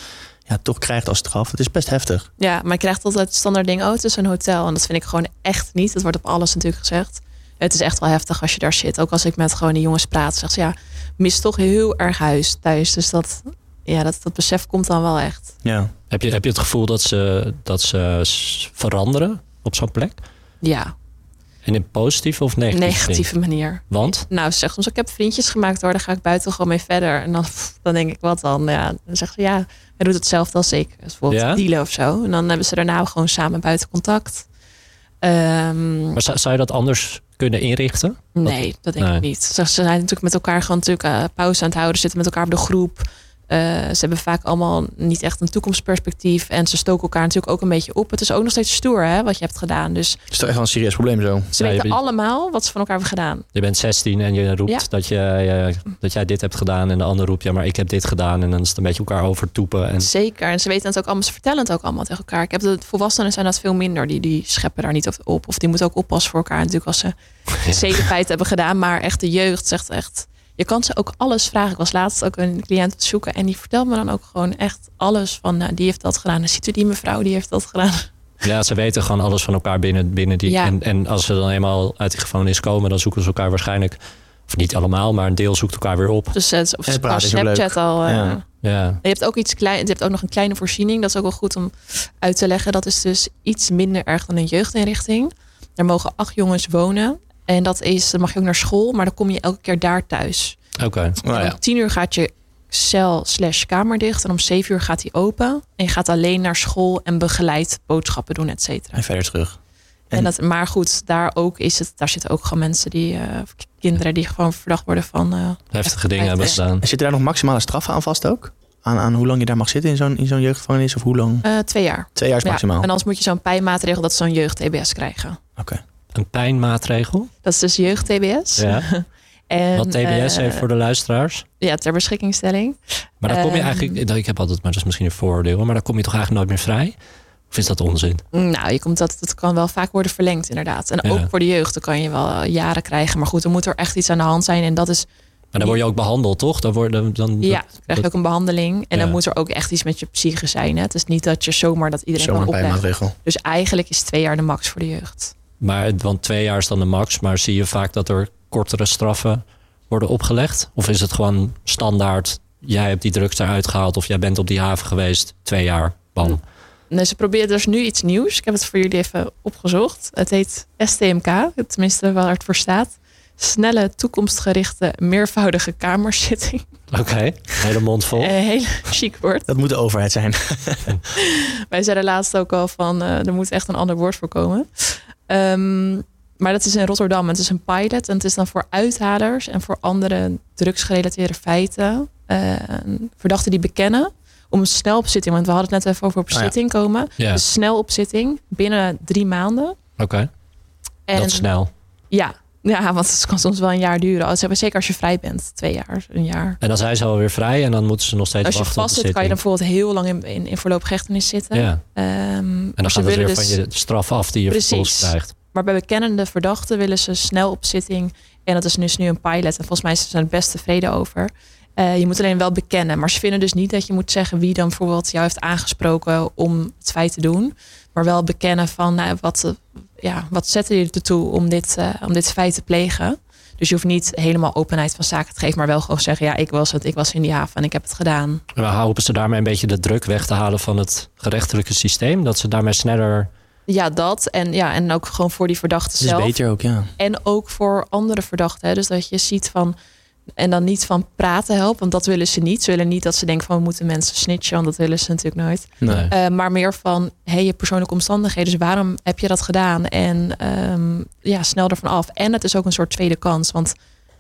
[SPEAKER 3] ja, toch krijgt als straf, het is best heftig.
[SPEAKER 2] ja, maar je krijgt altijd het standaard ding. Oh, het is een hotel. En dat vind ik gewoon echt niet. Dat wordt op alles natuurlijk gezegd. Het is echt wel heftig als je daar zit. Ook als ik met gewoon die jongens praat. Zegt ze, ja, mis toch heel erg huis thuis. Dus dat, ja, dat, dat besef komt dan wel echt.
[SPEAKER 3] Ja.
[SPEAKER 1] Heb, je, heb je het gevoel dat ze, dat ze s- veranderen op zo'n plek?
[SPEAKER 2] Ja,
[SPEAKER 1] En in positieve of negatieve? zin?
[SPEAKER 2] negatieve manier.
[SPEAKER 1] Want?
[SPEAKER 2] Nou, ze zegt soms, ik heb vriendjes gemaakt hoor. Daar ga ik buiten gewoon mee verder. En dan, pff, dan denk ik, wat dan? Ja, dan zegt ze, ja, hij doet hetzelfde als ik. Dus bijvoorbeeld
[SPEAKER 1] Ja?
[SPEAKER 2] dealen of zo. En dan hebben ze daarna gewoon samen buiten contact. Ehm,
[SPEAKER 1] Maar zou, zou je dat anders kunnen inrichten?
[SPEAKER 2] Nee, dat denk
[SPEAKER 1] Nee.
[SPEAKER 2] ik niet. Ze ze zijn natuurlijk met elkaar gewoon natuurlijk eh, pauze aan het houden, zitten met elkaar op de groep. Eh, ze hebben vaak allemaal niet echt een toekomstperspectief. En ze stoken elkaar natuurlijk ook een beetje op. Het is ook nog steeds stoer hè, wat je hebt gedaan. Dus
[SPEAKER 3] Het is toch echt wel een serieus probleem zo.
[SPEAKER 2] ze
[SPEAKER 1] Ja, je
[SPEAKER 2] weten
[SPEAKER 1] bent-
[SPEAKER 2] allemaal wat ze van elkaar hebben gedaan.
[SPEAKER 1] Je bent 16 en je roept
[SPEAKER 2] Ja.
[SPEAKER 1] dat, je, eh, dat jij dit hebt gedaan. En de ander roept, ja, maar ik heb dit gedaan. En dan is het een beetje elkaar overtoepen. En
[SPEAKER 2] Zeker. En ze weten het ook allemaal. Ze vertellen het ook allemaal tegen elkaar. Ik heb dat volwassenen zijn dat veel minder. Die, die scheppen daar niet op- op. Of die moeten ook oppassen voor elkaar. Natuurlijk als ze zedenfeit hebben gedaan. Maar echt de jeugd zegt echt. Je kan ze ook alles vragen. Ik was laatst ook een cliënt aan het zoeken. En die vertelt me dan ook gewoon echt alles. Van nou, die heeft dat gedaan. Dan ziet u die mevrouw, die heeft dat gedaan.
[SPEAKER 1] ja, ze weten gewoon alles van elkaar binnen, binnen die.
[SPEAKER 2] Ja.
[SPEAKER 1] En, en als ze dan eenmaal uit die gevangenis komen, dan zoeken ze elkaar waarschijnlijk. Of niet allemaal, maar een deel zoekt elkaar weer op.
[SPEAKER 2] Dus het, of
[SPEAKER 3] En
[SPEAKER 2] ze
[SPEAKER 3] het praten
[SPEAKER 2] qua
[SPEAKER 3] is ook leuk.
[SPEAKER 2] Snapchat al. eh,
[SPEAKER 3] Ja.
[SPEAKER 1] Ja.
[SPEAKER 2] Je hebt ook iets klein, je hebt ook nog een kleine voorziening. Dat is ook wel goed om uit te leggen. Dat is dus iets minder erg dan een jeugdinrichting. Daar mogen acht jongens wonen. En dat is, dan mag je ook naar school, maar dan kom je elke keer daar thuis.
[SPEAKER 1] Oké.
[SPEAKER 3] Nou
[SPEAKER 2] En
[SPEAKER 3] ja.
[SPEAKER 2] Om tien uur gaat je cel slash kamer dicht. En om zeven uur gaat die open. En je gaat alleen naar school en begeleid boodschappen doen, et cetera.
[SPEAKER 3] En verder terug.
[SPEAKER 2] En
[SPEAKER 3] En-
[SPEAKER 2] dat, maar goed, daar ook is het, daar zitten ook gewoon mensen die, eh, of k- kinderen die gewoon verdacht worden van. eh,
[SPEAKER 1] Heftige dingen hebben ze gedaan.
[SPEAKER 3] En zitten daar nog maximale straffen aan vast ook? Aan, aan hoe lang je daar mag zitten in zo'n, in zo'n jeugdgevangenis? Of hoe lang?
[SPEAKER 2] eh, twee jaar.
[SPEAKER 3] Twee jaar is
[SPEAKER 2] Ja,
[SPEAKER 3] maximaal.
[SPEAKER 2] en anders moet je zo'n pijnmaatregel dat ze zo'n jeugd-TBS krijgen.
[SPEAKER 1] Een pijnmaatregel.
[SPEAKER 2] Dat is dus jeugd-TBS.
[SPEAKER 1] Ja.
[SPEAKER 2] En,
[SPEAKER 1] Wat TBS
[SPEAKER 2] eh,
[SPEAKER 1] heeft voor de luisteraars.
[SPEAKER 2] Ja, ter beschikkingstelling.
[SPEAKER 1] Maar dan kom je
[SPEAKER 2] Ehm.
[SPEAKER 1] eigenlijk, ik heb altijd, maar dat is misschien een vooroordeel, maar dan kom je toch eigenlijk nooit meer vrij? Of is dat onzin?
[SPEAKER 2] Nou, je komt dat, dat kan wel vaak worden verlengd, inderdaad. En
[SPEAKER 1] Ja.
[SPEAKER 2] ook voor de jeugd, dan kan je wel eh, jaren krijgen. Maar goed, dan moet er echt iets aan de hand zijn. En dat is,
[SPEAKER 1] Maar dan word je ook behandeld, toch? Dan word, dan, dan,
[SPEAKER 2] ja, dan krijg je
[SPEAKER 1] dat-
[SPEAKER 2] ook een behandeling. En
[SPEAKER 1] Ja.
[SPEAKER 2] dan moet er ook echt iets met je psyche zijn. Hè? Het is niet dat je zomaar dat iedereen
[SPEAKER 3] Zomaar
[SPEAKER 2] kan opleggen.
[SPEAKER 3] pijnmaatregel.
[SPEAKER 2] Dus eigenlijk is twee jaar de max voor de jeugd.
[SPEAKER 1] Maar, want twee jaar is dan de max, maar zie je vaak dat er kortere straffen worden opgelegd? Of is het gewoon standaard, jij hebt die drugs eruit gehaald of jij bent op die haven geweest, twee jaar, bam.
[SPEAKER 2] Nee, ze probeert dus nu iets nieuws. Ik heb het voor jullie even opgezocht. Het heet STMK, tenminste waar het voor staat. Snelle, toekomstgerichte, meervoudige kamerzitting.
[SPEAKER 1] Oké, (laughs) hele mond vol.
[SPEAKER 2] Een Eh, heel (laughs) chic woord.
[SPEAKER 3] Dat moet de overheid
[SPEAKER 2] (laughs)
[SPEAKER 3] zijn.
[SPEAKER 2] Wij zeiden laatst ook al van eh, er moet echt een ander woord voor komen. Ehm, maar dat is in Rotterdam. Het is een pilot en het is dan voor uithalers en voor andere drugsgerelateerde feiten. eh, verdachten die bekennen om een snel opzitting. Want we hadden het net even over
[SPEAKER 1] Oh ja.
[SPEAKER 2] opzitting komen.
[SPEAKER 1] Ja,
[SPEAKER 2] Dus snel opzitting binnen drie maanden.
[SPEAKER 1] oké. Dat is snel.
[SPEAKER 2] Ja, ja, want het kan soms wel een jaar duren. Als- Zeker als je vrij bent. Twee jaar, een jaar.
[SPEAKER 1] En dan zijn ze alweer vrij en dan moeten ze nog steeds
[SPEAKER 2] Als je
[SPEAKER 1] wachten op
[SPEAKER 2] vast
[SPEAKER 1] de
[SPEAKER 2] zit, kan je dan
[SPEAKER 1] zitting.
[SPEAKER 2] bijvoorbeeld heel lang in, in, in voorlopige hechtenis zitten.
[SPEAKER 1] Ja,
[SPEAKER 2] Ehm,
[SPEAKER 1] en dan
[SPEAKER 2] maar, ze
[SPEAKER 1] gaat het weer
[SPEAKER 2] willen
[SPEAKER 1] van
[SPEAKER 2] dus,
[SPEAKER 1] je straf af die je
[SPEAKER 2] Precies.
[SPEAKER 1] vervolgens krijgt.
[SPEAKER 2] maar bij bekennende verdachten willen ze snel opzitting. En dat is dus nu een pilot. En volgens mij zijn ze er best tevreden over. Eh, je moet alleen wel bekennen. Maar ze vinden dus niet dat je moet zeggen wie dan bijvoorbeeld jou heeft aangesproken om het feit te doen. Maar wel bekennen van nou, wat, eh, ja, wat zette je ertoe om dit, eh, om dit feit te plegen. Dus je hoeft niet helemaal openheid van zaken te geven, maar wel gewoon zeggen: ja, ik was het, ik was in die haven en ik heb het gedaan.
[SPEAKER 1] En we hopen ze daarmee een beetje de druk weg te halen van het gerechtelijke systeem. Dat ze daarmee sneller...
[SPEAKER 2] Ja, dat. En, ja, en ook gewoon voor die verdachte
[SPEAKER 3] Het is
[SPEAKER 2] zelf.
[SPEAKER 3] beter ook, ja.
[SPEAKER 2] En ook voor andere verdachten. hè. Dus dat je ziet van. En dan niet van praten helpen, want dat willen ze niet. Ze willen niet dat ze denken van we moeten mensen snitchen, want dat willen ze natuurlijk nooit.
[SPEAKER 3] Nee.
[SPEAKER 1] Nee.
[SPEAKER 2] Eh, maar meer van hey, je persoonlijke omstandigheden. Dus waarom heb je dat gedaan? En ehm, ja, snel ervan af. En het is ook een soort tweede kans, want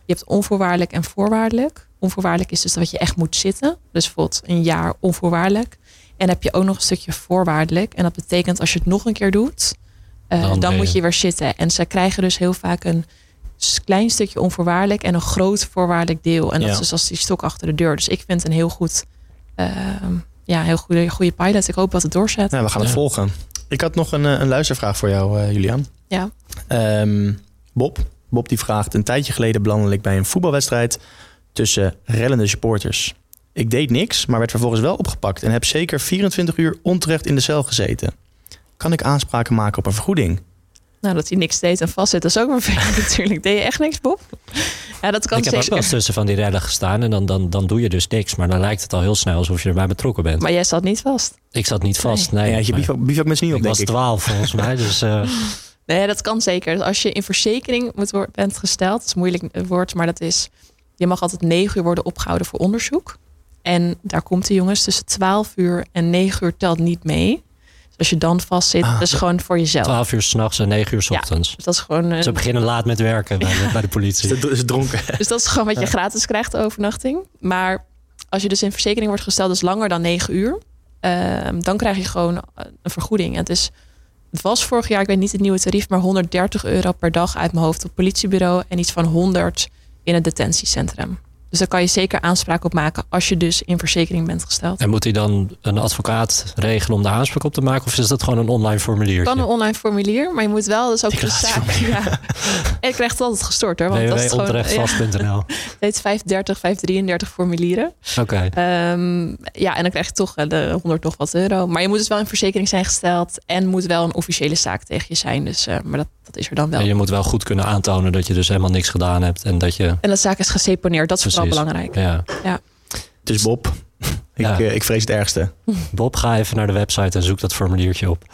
[SPEAKER 2] je hebt onvoorwaardelijk en voorwaardelijk. Onvoorwaardelijk is dus dat je echt moet zitten. Dus bijvoorbeeld een jaar onvoorwaardelijk. En heb je ook nog een stukje voorwaardelijk. En dat betekent als je het nog een keer doet, eh,
[SPEAKER 1] Dan
[SPEAKER 2] dan,
[SPEAKER 1] ben je-
[SPEAKER 2] moet je weer zitten. En ze krijgen dus heel vaak een s- klein stukje onvoorwaardelijk en een groot voorwaardelijk deel. En dat
[SPEAKER 1] Ja.
[SPEAKER 2] is dus als die stok achter de deur. Dus ik vind een heel goed, ehm, ja, heel goede, goede pilot. Ik hoop dat het doorzet.
[SPEAKER 3] Nou, we gaan het
[SPEAKER 1] Ja.
[SPEAKER 3] volgen. Ik had nog een, eh, een luistervraag voor jou, eh, Julian.
[SPEAKER 2] Ja.
[SPEAKER 3] Ehm, Bob. Bob die vraagt, een tijdje geleden belandde ik bij een voetbalwedstrijd tussen rellende supporters. Ik deed niks, maar werd vervolgens wel opgepakt en heb zeker 24 uur onterecht in de cel gezeten. Kan ik aanspraken maken op een vergoeding?
[SPEAKER 2] Nou, dat hij niks deed en vastzit, dat is ook vervelend (laughs) natuurlijk. Deed je echt niks, Bob? Ja, dat kan
[SPEAKER 1] Ik heb ook wel
[SPEAKER 2] zeker.
[SPEAKER 1] eens tussen van die rellen gestaan en dan, dan, dan doe je dus niks. Maar dan lijkt het al heel snel alsof je erbij betrokken bent.
[SPEAKER 2] Maar jij zat niet vast.
[SPEAKER 1] ik zat niet vast. Nee,
[SPEAKER 3] Nee, ja, je
[SPEAKER 1] maar
[SPEAKER 3] bivak, bivak mensen niet
[SPEAKER 1] ik
[SPEAKER 3] op, denk
[SPEAKER 1] was
[SPEAKER 3] ik.
[SPEAKER 1] 12 volgens mij, dus...
[SPEAKER 2] (laughs)
[SPEAKER 1] eh,
[SPEAKER 2] Nee, dat kan zeker. Dus als je in verzekering moet wor- bent gesteld, dat is een moeilijk eh, woord, maar dat is, je mag altijd negen uur worden opgehouden voor onderzoek. En daar komt de jongens, tussen 12 uur en 9 uur telt niet mee. Dus als je dan vast zit,
[SPEAKER 3] Ah,
[SPEAKER 2] dat is gewoon voor jezelf.
[SPEAKER 1] 12 uur s'nachts en 9 uur s
[SPEAKER 2] Ja.
[SPEAKER 1] ochtends.
[SPEAKER 2] Dus dat is gewoon, eh,
[SPEAKER 1] Ze beginnen laat met werken bij,
[SPEAKER 2] (laughs)
[SPEAKER 1] de, bij de
[SPEAKER 3] Is
[SPEAKER 1] politie.
[SPEAKER 3] het- is het (laughs) dronken?
[SPEAKER 2] dus dat is gewoon wat je gratis krijgt, de overnachting. Maar als je dus in verzekering wordt gesteld, dus langer dan 9 uur, ehm, dan krijg je gewoon eh, een vergoeding. En het, is, het was vorig jaar, ik weet niet het nieuwe tarief, maar 130 euro per dag uit mijn hoofd op politiebureau en iets van 100 in het detentiecentrum. Dus daar kan je zeker aanspraak op maken als je dus in verzekering bent gesteld.
[SPEAKER 1] En moet hij dan een advocaat regelen om daar aanspraak op te maken? Of is dat gewoon een online
[SPEAKER 2] Je kan een
[SPEAKER 1] formuliertje?
[SPEAKER 2] online formulier, maar je moet wel dus ook de zaak.
[SPEAKER 3] Declaratieformulier.
[SPEAKER 2] Ja. En je krijgt het altijd gestort hoor. Want dat is gewoon (laughs) ja,
[SPEAKER 1] www.onterechtvast.nl Oké.
[SPEAKER 2] steeds 530, 533 formulieren. Ehm, ja, en dan krijg je toch eh, de 100 nog wat euro. Maar je moet dus wel in verzekering zijn gesteld. En moet wel een officiële zaak tegen je zijn. Dus, eh, maar dat, dat is er dan wel.
[SPEAKER 1] En je moet wel goed kunnen aantonen dat je dus helemaal niks gedaan hebt. En dat je...
[SPEAKER 2] En dat zaak is geseponeerd. Dat is
[SPEAKER 1] Precies.
[SPEAKER 2] vooral belangrijk.
[SPEAKER 1] Ja.
[SPEAKER 3] Dus Bob, (laughs) ik,
[SPEAKER 1] Ja.
[SPEAKER 3] eh, ik vrees het ergste.
[SPEAKER 1] Bob, ga even naar de website en zoek dat formuliertje op.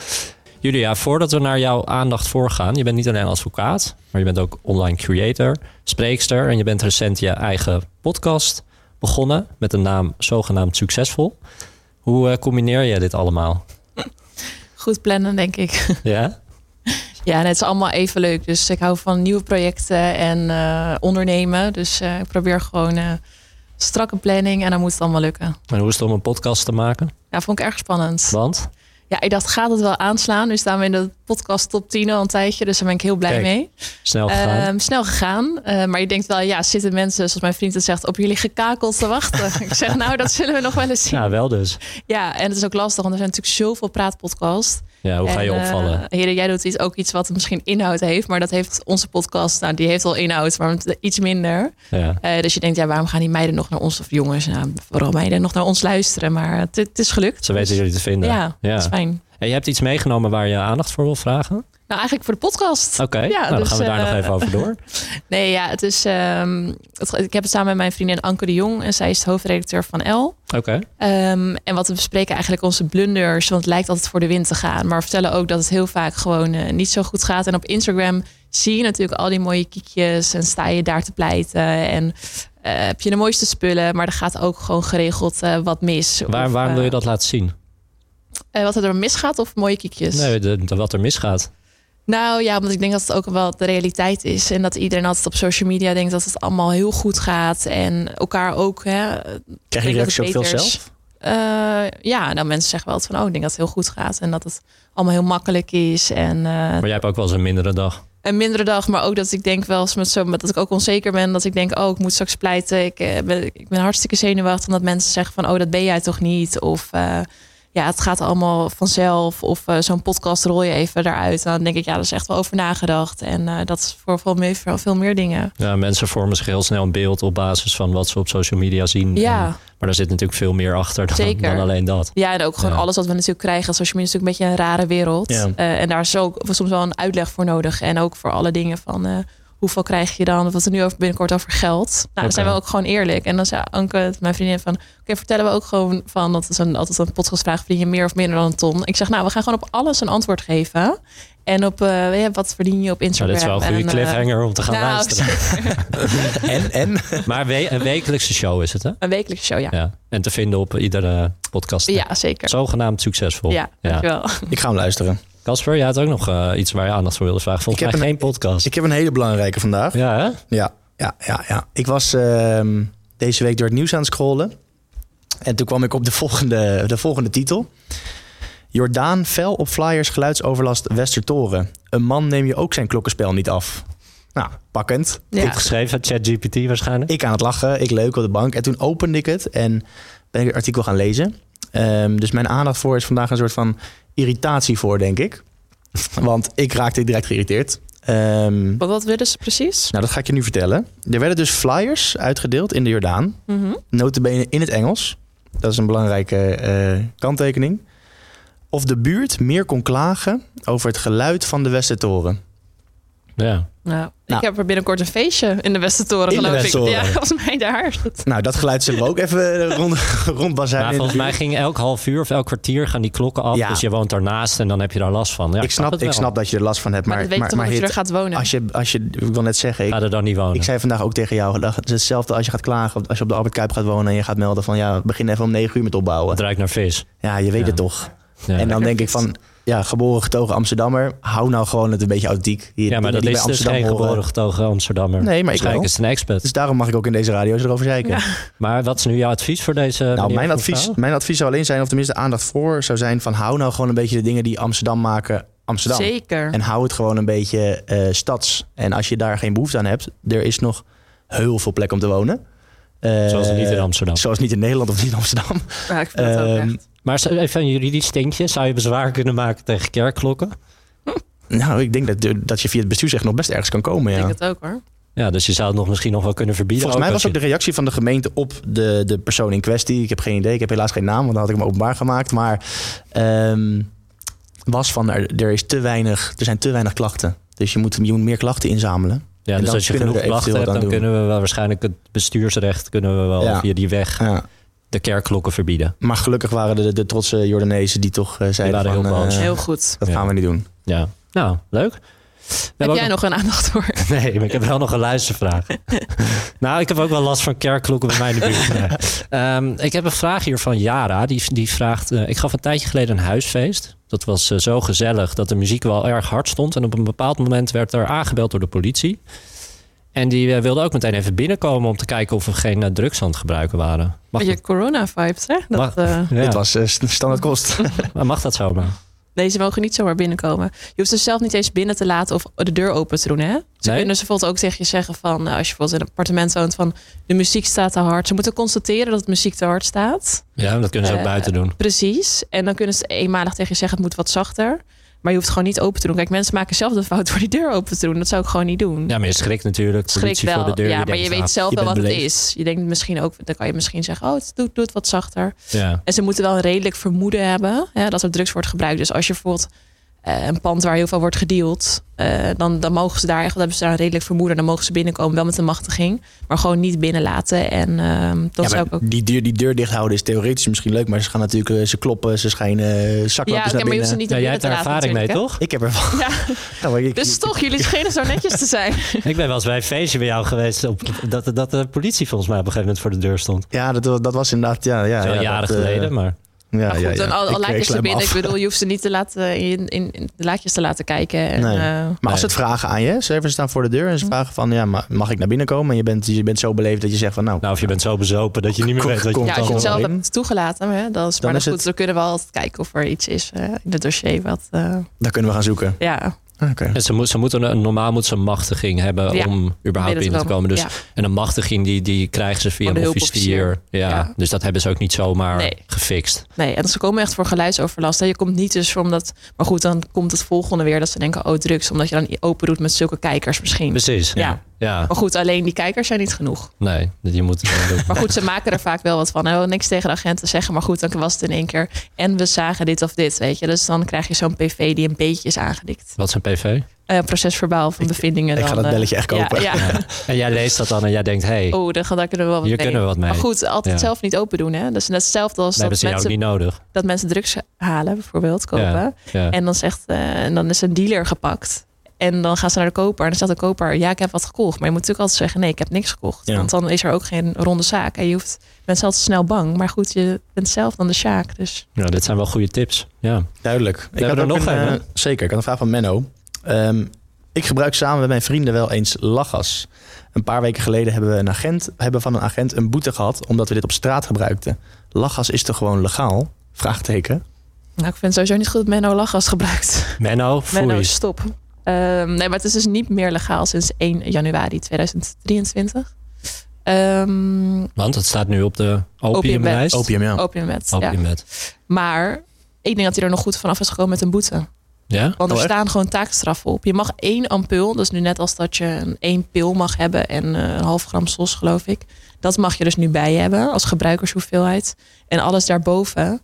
[SPEAKER 1] Julia, voordat we naar jouw aandacht voorgaan. Je bent niet alleen advocaat, maar je bent ook online creator, spreekster. En je bent recent je eigen podcast begonnen met de naam Zogenaamd Succesvol. Hoe eh, combineer je dit
[SPEAKER 2] (laughs)
[SPEAKER 1] allemaal?
[SPEAKER 2] Goed plannen, denk ik.
[SPEAKER 1] Ja?
[SPEAKER 2] Ja, en het is allemaal even leuk. Dus ik hou van nieuwe projecten en eh, ondernemen. Dus eh, ik probeer gewoon eh, strakke planning. En dan moet het allemaal lukken.
[SPEAKER 1] En hoe is het om een podcast te maken?
[SPEAKER 2] Ja, vond ik erg spannend.
[SPEAKER 1] Want?
[SPEAKER 2] Ja, ik dacht, gaat het wel aanslaan? Nu staan we in de podcast top 10 al een tijdje. Dus daar ben ik heel blij
[SPEAKER 1] Kijk.
[SPEAKER 2] mee.
[SPEAKER 1] Snel gegaan.
[SPEAKER 2] Ehm, snel gegaan. Eh, maar je denkt wel, ja, zitten mensen, zoals mijn vriend het zegt, op jullie gekakeld te
[SPEAKER 1] (laughs)
[SPEAKER 2] wachten? ik zeg, nou, dat zullen we nog wel eens zien. Ja,
[SPEAKER 1] ja, wel dus.
[SPEAKER 2] en het is ook lastig, want er zijn natuurlijk zoveel praatpodcasts.
[SPEAKER 1] Ja, hoe ga je
[SPEAKER 2] En, eh,
[SPEAKER 1] opvallen?
[SPEAKER 2] heren, jij doet iets, ook iets wat misschien inhoud heeft, maar dat heeft onze podcast, nou, die heeft al inhoud, maar met iets minder.
[SPEAKER 1] Ja.
[SPEAKER 2] Eh, dus je denkt, ja, waarom gaan die meiden nog naar ons, of jongens, nou, vooral meiden, nog naar ons luisteren? Maar het, het is gelukt.
[SPEAKER 1] Ze weten
[SPEAKER 2] Dus,
[SPEAKER 1] jullie te vinden.
[SPEAKER 2] ja, dat is fijn.
[SPEAKER 1] En je hebt iets meegenomen waar je aandacht voor wil vragen? Oké,
[SPEAKER 2] Nou, eigenlijk voor de podcast. Ja,
[SPEAKER 1] nou, dan
[SPEAKER 2] dus,
[SPEAKER 1] gaan we daar
[SPEAKER 2] eh,
[SPEAKER 1] nog even over
[SPEAKER 2] (laughs)
[SPEAKER 1] door.
[SPEAKER 2] Nee, ja, het is. ehm, het- ik heb het samen met mijn vriendin Anke de Jong en zij is de hoofdredacteur van L.
[SPEAKER 1] Oké,
[SPEAKER 2] Ehm, en wat we bespreken eigenlijk onze blunders, want het lijkt altijd voor de wind te gaan. Maar we vertellen ook dat het heel vaak gewoon eh, niet zo goed gaat. En op Instagram zie je natuurlijk al die mooie kiekjes en sta je daar te pleiten. En eh, heb je de mooiste spullen, maar er gaat ook gewoon geregeld eh, wat mis.
[SPEAKER 1] waar,
[SPEAKER 2] Of,
[SPEAKER 1] waarom
[SPEAKER 2] eh,
[SPEAKER 1] wil je dat laten zien?
[SPEAKER 2] eh, wat er misgaat of mooie kiekjes?
[SPEAKER 1] Nee, de- de- wat er misgaat.
[SPEAKER 2] Nou ja, want ik denk dat het ook wel de realiteit is. En dat iedereen altijd op social media denkt dat het allemaal heel goed gaat. En elkaar ook. Hè,
[SPEAKER 3] Krijg je
[SPEAKER 2] Ik denk dat
[SPEAKER 3] reactie op
[SPEAKER 2] het
[SPEAKER 3] veel
[SPEAKER 2] beter is.
[SPEAKER 3] zelf?
[SPEAKER 2] eh, ja, nou mensen zeggen wel altijd van... oh, ik denk dat het heel goed gaat. En dat het allemaal heel makkelijk is. En eh,
[SPEAKER 1] Maar jij hebt ook wel eens een mindere dag.
[SPEAKER 2] een mindere dag, maar ook dat ik denk wel eens met zo, met dat ik ook onzeker ben. Dat ik denk, oh, ik moet straks pleiten. Ik, eh, ben, ik ben hartstikke zenuwachtig. Omdat mensen zeggen van, oh, dat ben jij toch niet? Of eh, ja, het gaat allemaal vanzelf. Of eh, zo'n podcast rol je even daaruit. En dan denk ik, ja, dat is echt wel over nagedacht. En eh, dat is voor veel meer, voor veel meer dingen.
[SPEAKER 1] Ja, mensen vormen zich heel snel een beeld op basis van wat ze op social media zien.
[SPEAKER 2] Ja.
[SPEAKER 1] En- maar daar zit natuurlijk veel meer achter dan,
[SPEAKER 2] Zeker. Dus
[SPEAKER 1] dan alleen dat.
[SPEAKER 2] Ja, en ook gewoon
[SPEAKER 1] Ja.
[SPEAKER 2] alles wat we natuurlijk krijgen. Social media is natuurlijk een beetje een rare wereld.
[SPEAKER 1] Ja.
[SPEAKER 2] Eh, en daar is ook soms wel een uitleg voor nodig. En ook voor alle dingen van eh, hoeveel krijg je dan? Of Wat er nu over binnenkort over geld. Nou,
[SPEAKER 1] Oké.
[SPEAKER 2] dan zijn we ook gewoon eerlijk. En dan zei Anke, mijn vriendin, van... Oké, vertellen we ook gewoon van... Dat is een, altijd een podcastvraag. Verdien je meer of minder dan een ton? Ik zeg, nou, we gaan gewoon op alles een antwoord geven. En op eh, ja, wat verdien je op
[SPEAKER 1] Nou,
[SPEAKER 2] Instagram?
[SPEAKER 1] dit is wel een goede
[SPEAKER 2] en, eh,
[SPEAKER 1] cliffhanger om te gaan
[SPEAKER 2] nou,
[SPEAKER 1] luisteren.
[SPEAKER 2] (laughs)
[SPEAKER 3] En, en? (laughs)
[SPEAKER 1] Maar we- een wekelijkse show is het, hè?
[SPEAKER 2] een wekelijkse show, ja.
[SPEAKER 1] Ja. En te vinden op iedere podcast.
[SPEAKER 2] Ja, zeker.
[SPEAKER 1] Zogenaamd succesvol.
[SPEAKER 2] Ja, dankjewel.
[SPEAKER 3] Ik ga hem luisteren.
[SPEAKER 1] Casper, jij had ook nog eh, iets waar je aandacht voor wilde vragen. Volgens
[SPEAKER 3] Ik heb
[SPEAKER 1] mij
[SPEAKER 3] een-
[SPEAKER 1] geen podcast.
[SPEAKER 3] Dus Ik heb een hele belangrijke vandaag.
[SPEAKER 1] Ja, hè?
[SPEAKER 3] Ja, ja, ja. ja. Ik was ehm, deze week door het nieuws aan het scrollen. En toen kwam ik op de volgende, de volgende titel. Jordaan fel op flyers geluidsoverlast Westertoren. Een man neem je ook zijn klokkenspel niet af. Nou, pakkend.
[SPEAKER 2] Ja.
[SPEAKER 1] Goed geschreven, ChatGPT waarschijnlijk.
[SPEAKER 3] Ik aan het lachen, ik leuk op de bank. En toen opende ik het en ben ik het artikel gaan lezen. Ehm, dus mijn aandacht voor is vandaag een soort van irritatie voor, denk ik. Want ik raakte direct geïrriteerd. Ehm,
[SPEAKER 2] Wat, wat willen ze precies?
[SPEAKER 3] nou, dat ga ik je nu vertellen. Er werden dus flyers uitgedeeld in de Jordaan.
[SPEAKER 1] Nou,
[SPEAKER 2] Mhm.
[SPEAKER 3] Notabene in het Engels. Dat is een belangrijke eh, kanttekening. Of de buurt meer kon klagen over het geluid van de Westertoren.
[SPEAKER 1] Ja.
[SPEAKER 2] Nou,
[SPEAKER 3] Nou.
[SPEAKER 2] ik heb er binnenkort een feestje in de Westentoren,
[SPEAKER 3] In de
[SPEAKER 2] geloof
[SPEAKER 3] Westentoren.
[SPEAKER 2] ik. Ja, volgens mij daar.
[SPEAKER 3] Nou, dat geluid zullen we ook
[SPEAKER 1] (laughs)
[SPEAKER 3] even eh, rond, rondbazijn
[SPEAKER 1] Maar
[SPEAKER 3] in de
[SPEAKER 1] volgens mij
[SPEAKER 3] buurt.
[SPEAKER 1] ging elk half uur of elk kwartier gaan die klokken af.
[SPEAKER 3] Ja.
[SPEAKER 1] Dus je woont daarnaast en dan heb je daar last van. Ja,
[SPEAKER 3] ik, snap,
[SPEAKER 1] het
[SPEAKER 3] ik
[SPEAKER 1] wel.
[SPEAKER 3] snap dat je er last van hebt,
[SPEAKER 2] Maar,
[SPEAKER 3] maar,
[SPEAKER 2] dat weet je
[SPEAKER 3] maar,
[SPEAKER 2] toch
[SPEAKER 3] maar
[SPEAKER 2] dat je er
[SPEAKER 3] Hit,
[SPEAKER 2] gaat wonen.
[SPEAKER 3] als je, als je, ik wil net zeggen, ik,
[SPEAKER 1] Ga er dan niet wonen.
[SPEAKER 3] ik zei vandaag ook tegen jou, dat is hetzelfde als je gaat klagen, als je op de Albert Kuip gaat wonen en je gaat melden van ja, begin even om negen uur met opbouwen.
[SPEAKER 1] Het ruikt naar vis.
[SPEAKER 3] Ja, je weet
[SPEAKER 1] Ja.
[SPEAKER 3] het toch.
[SPEAKER 1] Ja.
[SPEAKER 3] En dan
[SPEAKER 2] Lekker
[SPEAKER 3] denk ik van, ja, geboren getogen Amsterdammer, hou nou gewoon het een beetje authentiek. Je
[SPEAKER 1] ja, maar
[SPEAKER 3] moet
[SPEAKER 1] dat
[SPEAKER 3] niet
[SPEAKER 1] is
[SPEAKER 3] bij
[SPEAKER 1] dus
[SPEAKER 3] Amsterdam
[SPEAKER 1] geen
[SPEAKER 3] horen.
[SPEAKER 1] geboren getogen Amsterdammer.
[SPEAKER 3] Nee, maar ik
[SPEAKER 1] Waarschijnlijk
[SPEAKER 3] wel.
[SPEAKER 1] is het een expert.
[SPEAKER 3] Dus daarom mag ik ook in deze radio's erover zeiken.
[SPEAKER 1] Maar wat is nu jouw advies voor deze
[SPEAKER 3] nou,
[SPEAKER 1] meneer
[SPEAKER 3] mijn
[SPEAKER 1] of
[SPEAKER 3] advies,
[SPEAKER 1] mevrouw?
[SPEAKER 3] mijn advies zou alleen zijn, of tenminste aandacht voor zou zijn van hou nou gewoon een beetje de dingen die Amsterdam maken, Amsterdam.
[SPEAKER 2] Zeker.
[SPEAKER 3] En hou het gewoon een beetje eh, stads. En als je daar geen behoefte aan hebt, er is nog heel veel plek om te wonen. Eh,
[SPEAKER 1] Zoals het niet in Amsterdam.
[SPEAKER 3] Zoals niet in Nederland of niet in Amsterdam. (laughs)
[SPEAKER 2] Ja, ik vind dat ook
[SPEAKER 3] Ehm,
[SPEAKER 2] echt.
[SPEAKER 1] Maar zo- even een juridisch steentje. Zou je bezwaar kunnen maken tegen kerkklokken?
[SPEAKER 3] Nou, ik denk dat, dat je via het bestuursrecht nog best ergens kan komen.
[SPEAKER 2] Ik
[SPEAKER 3] Ja.
[SPEAKER 2] denk het ook hoor.
[SPEAKER 1] Ja, dus je zou het nog misschien nog wel kunnen verbieden.
[SPEAKER 3] Volgens mij was ook
[SPEAKER 1] als
[SPEAKER 3] de reactie van de gemeente op de, de persoon in kwestie. Ik heb geen idee. Ik heb helaas geen naam, want dan had ik hem openbaar gemaakt. Maar ehm, was van er, er, is te weinig, er zijn te weinig klachten. Dus je moet, je moet meer klachten inzamelen.
[SPEAKER 1] je- Ja,
[SPEAKER 3] en
[SPEAKER 1] dus
[SPEAKER 3] dan
[SPEAKER 1] als je
[SPEAKER 3] kunnen we
[SPEAKER 1] genoeg
[SPEAKER 3] er
[SPEAKER 1] klachten hebt,
[SPEAKER 3] eventueel
[SPEAKER 1] dan
[SPEAKER 3] wat aan doen.
[SPEAKER 1] kunnen we wel waarschijnlijk het bestuursrecht... kunnen we wel
[SPEAKER 3] Ja.
[SPEAKER 1] via die weg
[SPEAKER 3] Ja.
[SPEAKER 1] de kerkklokken verbieden.
[SPEAKER 3] Maar gelukkig waren de, de trotse Jordanezen die toch eh, zeiden
[SPEAKER 1] waren
[SPEAKER 3] van,
[SPEAKER 1] heel boos.
[SPEAKER 3] eh,
[SPEAKER 2] Heel goed.
[SPEAKER 3] dat
[SPEAKER 1] Ja.
[SPEAKER 3] gaan we niet doen.
[SPEAKER 1] Ja, nou, leuk. We
[SPEAKER 2] Heb
[SPEAKER 1] hebben
[SPEAKER 2] jij
[SPEAKER 1] ook
[SPEAKER 2] nog een aandacht voor?
[SPEAKER 1] (laughs) Nee, maar ik heb wel nog een luistervraag. nou, ik heb ook wel last van kerkklokken bij mij in de buurt. Nee. Ehm, ik heb een vraag hier van Jara. Die, die vraagt... eh, ik gaf een tijdje geleden een huisfeest. Dat was eh, zo gezellig dat de muziek wel erg hard stond. En op een bepaald moment werd er aangebeld door de politie. En die eh, wilde ook meteen even binnenkomen... om te kijken of we geen eh, drugs aan het gebruiken waren. Mag,
[SPEAKER 2] Je corona-vibes hè? Dat,
[SPEAKER 1] Mag-
[SPEAKER 2] eh,
[SPEAKER 1] ja,
[SPEAKER 3] Dit was eh, st- standaard kost.
[SPEAKER 1] maar mag dat zomaar?
[SPEAKER 2] deze mogen niet zomaar binnenkomen. Je hoeft ze zelf niet eens binnen te laten of de deur open te doen hè? Ze
[SPEAKER 1] Nee?
[SPEAKER 2] kunnen ze bijvoorbeeld ook tegen je zeggen van... nou, als je bijvoorbeeld in een appartement woont van... de muziek staat te hard. Ze moeten constateren dat de muziek te hard staat.
[SPEAKER 1] Ja, dat kunnen ze ook
[SPEAKER 2] Eh,
[SPEAKER 1] buiten doen.
[SPEAKER 2] Precies. En dan kunnen ze eenmalig tegen je zeggen: het moet wat zachter. Maar je hoeft het gewoon niet open te doen. Kijk, mensen maken zelf de fout door die deur open te doen. Dat zou ik gewoon niet doen.
[SPEAKER 1] Ja, maar je schrikt natuurlijk.
[SPEAKER 2] Schrik
[SPEAKER 1] politie
[SPEAKER 2] wel.
[SPEAKER 1] voor de deur.
[SPEAKER 2] ja,
[SPEAKER 1] die
[SPEAKER 2] maar je
[SPEAKER 1] denkt,
[SPEAKER 2] weet
[SPEAKER 1] ah,
[SPEAKER 2] zelf
[SPEAKER 1] je
[SPEAKER 2] wel wat
[SPEAKER 1] bent
[SPEAKER 2] het
[SPEAKER 1] beleefd.
[SPEAKER 2] is. Je denkt misschien ook, dan kan je misschien zeggen: oh, het doet, doe het wat zachter.
[SPEAKER 1] Ja.
[SPEAKER 2] En ze moeten wel een redelijk vermoeden hebben hè, dat er drugs wordt gebruikt. Dus als je bijvoorbeeld eh, een pand waar heel veel wordt gedeeld, eh, dan, dan mogen ze daar echt, dan hebben ze daar een redelijk vermoeden. Dan mogen ze binnenkomen, wel met een machtiging, maar gewoon niet binnenlaten. En ehm, dat
[SPEAKER 3] Ja,
[SPEAKER 2] zou
[SPEAKER 3] maar
[SPEAKER 2] ik ook.
[SPEAKER 3] die, deur, die deur dicht houden is theoretisch misschien leuk, maar ze gaan natuurlijk, eh, ze kloppen, ze schijnen eh,
[SPEAKER 2] Ja,
[SPEAKER 3] zaklampjes
[SPEAKER 2] oké,
[SPEAKER 3] naar
[SPEAKER 2] maar je
[SPEAKER 3] binnen.
[SPEAKER 2] hoeft ze niet
[SPEAKER 1] Nou, jij
[SPEAKER 2] binnen
[SPEAKER 1] hebt
[SPEAKER 2] te
[SPEAKER 1] er
[SPEAKER 2] laten.
[SPEAKER 1] ervaring mee,
[SPEAKER 2] natuurlijk, hè?
[SPEAKER 1] toch?
[SPEAKER 3] Ik heb er wel. (laughs)
[SPEAKER 2] (laughs) Ja.
[SPEAKER 3] Nou, maar ik-
[SPEAKER 2] Dus toch, jullie schenen zo netjes te
[SPEAKER 3] (laughs)
[SPEAKER 2] zijn.
[SPEAKER 1] Ik ben wel eens bij een feestje bij jou geweest. Op, dat, dat de politie volgens mij op een gegeven moment voor de deur stond.
[SPEAKER 3] Ja, dat, dat was inderdaad. Ja, ja,
[SPEAKER 1] Ja,
[SPEAKER 3] ja,
[SPEAKER 1] jaren
[SPEAKER 3] dat, eh,
[SPEAKER 1] geleden, maar
[SPEAKER 3] Ja,
[SPEAKER 2] maar goed,
[SPEAKER 3] ja, ja.
[SPEAKER 2] dan al,
[SPEAKER 3] Ik-
[SPEAKER 2] al
[SPEAKER 3] ik
[SPEAKER 2] laatjes
[SPEAKER 3] sluit
[SPEAKER 2] te
[SPEAKER 3] me
[SPEAKER 2] binnen.
[SPEAKER 3] af.
[SPEAKER 2] Ik bedoel, je hoeft ze niet te laten, in, in, in de laatjes te laten kijken. En,
[SPEAKER 3] Nee.
[SPEAKER 2] eh,
[SPEAKER 3] Maar als ze
[SPEAKER 1] Nee.
[SPEAKER 3] het vragen aan je, servers staan voor de deur en ze
[SPEAKER 2] Hm.
[SPEAKER 3] vragen van, ja, ma- mag ik naar binnen komen? En je bent, je bent zo beleefd dat je zegt van, nou,
[SPEAKER 1] Nou, of je bent zo bezopen dat je niet meer
[SPEAKER 3] Kom-
[SPEAKER 1] weet wat je
[SPEAKER 3] kom-
[SPEAKER 2] ja, als
[SPEAKER 1] moet
[SPEAKER 2] je het zelf
[SPEAKER 3] alleen.
[SPEAKER 2] hebt toegelaten, hè, dat is,
[SPEAKER 3] Dan
[SPEAKER 2] maar
[SPEAKER 3] is
[SPEAKER 2] goed,
[SPEAKER 3] het-
[SPEAKER 2] dan kunnen we altijd kijken of er iets is eh, in het dossier. Wat, eh,
[SPEAKER 3] daar kunnen we gaan zoeken.
[SPEAKER 2] ja,
[SPEAKER 3] Oké.
[SPEAKER 1] En ze, moet, ze moeten een, normaal moet ze een machtiging hebben
[SPEAKER 2] Ja,
[SPEAKER 1] om überhaupt binnen te komen. Dus,
[SPEAKER 2] ja.
[SPEAKER 1] En een machtiging die, die krijgen ze via
[SPEAKER 2] Van de
[SPEAKER 1] een officier. Ja,
[SPEAKER 2] Ja.
[SPEAKER 1] Dus dat hebben ze ook niet zomaar
[SPEAKER 2] Nee.
[SPEAKER 1] gefixt.
[SPEAKER 2] Nee, en ze komen echt voor geluidsoverlast. Hè. Je komt niet dus omdat... Maar goed, dan komt het volgende weer dat ze denken... oh, drugs, omdat je dan open doet met zulke kijkers misschien.
[SPEAKER 1] Precies.
[SPEAKER 2] ja.
[SPEAKER 1] Ja,
[SPEAKER 2] Maar goed, alleen die kijkers zijn niet genoeg.
[SPEAKER 1] nee, je moet eh, het
[SPEAKER 2] (laughs)
[SPEAKER 1] wel doen.
[SPEAKER 2] Maar goed, ze maken er vaak wel wat van. Oh, niks tegen de agenten zeggen, maar goed, dan was het in één keer... en we zagen dit of dit, weet je. Dus dan krijg je zo'n PV die een beetje is aangedikt.
[SPEAKER 1] Wat is een PV?
[SPEAKER 2] Eh procesverbaal van bevindingen.
[SPEAKER 3] ik ga
[SPEAKER 2] dan,
[SPEAKER 3] dat
[SPEAKER 2] eh,
[SPEAKER 3] belletje echt
[SPEAKER 2] ja,
[SPEAKER 3] kopen.
[SPEAKER 2] Ja,
[SPEAKER 1] En jij leest dat dan en jij denkt, hé, hey,
[SPEAKER 2] (laughs) Oh, dan, gaan- daar kunnen we wel wat
[SPEAKER 1] hier
[SPEAKER 2] mee.
[SPEAKER 1] kunnen we wat mee.
[SPEAKER 2] Maar goed, altijd
[SPEAKER 1] Ja.
[SPEAKER 2] zelf niet open doen. Hè? Dus net hetzelfde als
[SPEAKER 1] nee, dat is
[SPEAKER 2] dat,
[SPEAKER 1] jou ook
[SPEAKER 2] mensen,
[SPEAKER 1] niet nodig.
[SPEAKER 2] dat mensen drugs halen, bijvoorbeeld, kopen.
[SPEAKER 1] Ja.
[SPEAKER 2] En dan, zegt, eh, en dan is een dealer gepakt. En dan gaan ze naar de koper. En dan zegt de koper, ja, ik heb wat gekocht. Maar je moet natuurlijk altijd zeggen, nee, ik heb niks gekocht.
[SPEAKER 3] Ja.
[SPEAKER 2] Want dan is er ook geen ronde zaak. En je hoeft, mensen altijd snel bang. Maar goed, je bent zelf dan de sjaak. Dus
[SPEAKER 1] Ja, Nou, dit zijn wel goede tips. Ja.
[SPEAKER 3] Duidelijk. Ik
[SPEAKER 1] hebben er
[SPEAKER 3] ook
[SPEAKER 1] nog een,
[SPEAKER 3] eh,
[SPEAKER 1] hè?
[SPEAKER 3] Zeker, ik had een vraag van Menno. Ehm, ik gebruik samen met mijn vrienden wel eens lachgas. Een paar weken geleden hebben we een agent, hebben van een agent een boete gehad... omdat we dit op straat gebruikten. Lachgas is toch gewoon legaal? Vraagteken.
[SPEAKER 2] nou, ik vind het sowieso niet goed dat Menno lachgas gebruikt.
[SPEAKER 1] Menno, foei.
[SPEAKER 2] Menno, stop. Ehm, nee, maar het is dus niet meer legaal sinds 1 januari 2023. Ehm
[SPEAKER 1] Want het staat nu op de opiumlijst.
[SPEAKER 2] Opiumlijst.
[SPEAKER 3] Opium,
[SPEAKER 2] Oh.
[SPEAKER 3] ja.
[SPEAKER 2] opiumwet, ja.
[SPEAKER 1] Opiumwet.
[SPEAKER 2] Maar ik denk dat hij er nog goed vanaf is gekomen met een boete.
[SPEAKER 1] Ja?
[SPEAKER 2] Want er
[SPEAKER 3] Oh, echt?
[SPEAKER 2] staan gewoon taakstraffen op. Je mag één ampul, dus nu net als dat je een één pil mag hebben en eh, een half gram SOS, geloof ik. Dat mag je dus nu bij je hebben als gebruikershoeveelheid. En alles daarboven,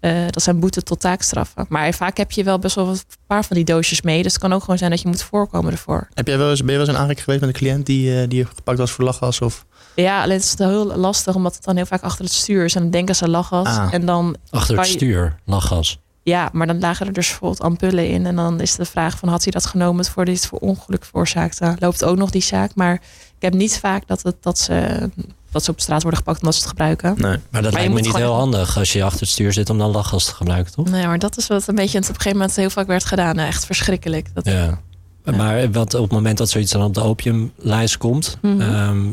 [SPEAKER 2] eh, dat zijn boeten tot taakstraffen. Maar vaak heb je wel best wel wat- een paar van die doosjes mee. Dus het kan ook gewoon zijn dat je moet voorkomen ervoor.
[SPEAKER 3] Heb jij wel eens, ben je wel eens in aanraking geweest met een cliënt die, eh, die gepakt was voor lachgas? Of...
[SPEAKER 2] Ja, alleen het is heel lastig, omdat het dan heel vaak achter het stuur is. En dan denken ze lachgas.
[SPEAKER 3] Ah.
[SPEAKER 2] En dan
[SPEAKER 1] Achter het
[SPEAKER 2] Kan je-
[SPEAKER 1] stuur, lachgas.
[SPEAKER 2] Ja, maar dan lagen er dus bijvoorbeeld ampullen in. En dan is de vraag van had hij dat genomen voor dit voor ongeluk veroorzaakte. Loopt ook nog die zaak. Maar ik heb niet vaak dat, het, dat, ze, dat ze op straat worden gepakt omdat ze het gebruiken.
[SPEAKER 3] Nee.
[SPEAKER 1] Maar dat
[SPEAKER 2] Maar je
[SPEAKER 1] lijkt me
[SPEAKER 2] moet
[SPEAKER 1] niet
[SPEAKER 2] gewoon-
[SPEAKER 1] heel handig als je achter het stuur zit om dan lachgas te gebruiken, toch?
[SPEAKER 2] Nee, maar dat is wat een beetje op een gegeven moment heel vaak werd gedaan. Nou, Echt verschrikkelijk. Dat,
[SPEAKER 1] Ja.
[SPEAKER 2] Ja.
[SPEAKER 1] Maar wat, op het moment dat zoiets dan op de opiumlijst komt,
[SPEAKER 2] Mhm.
[SPEAKER 1] ehm,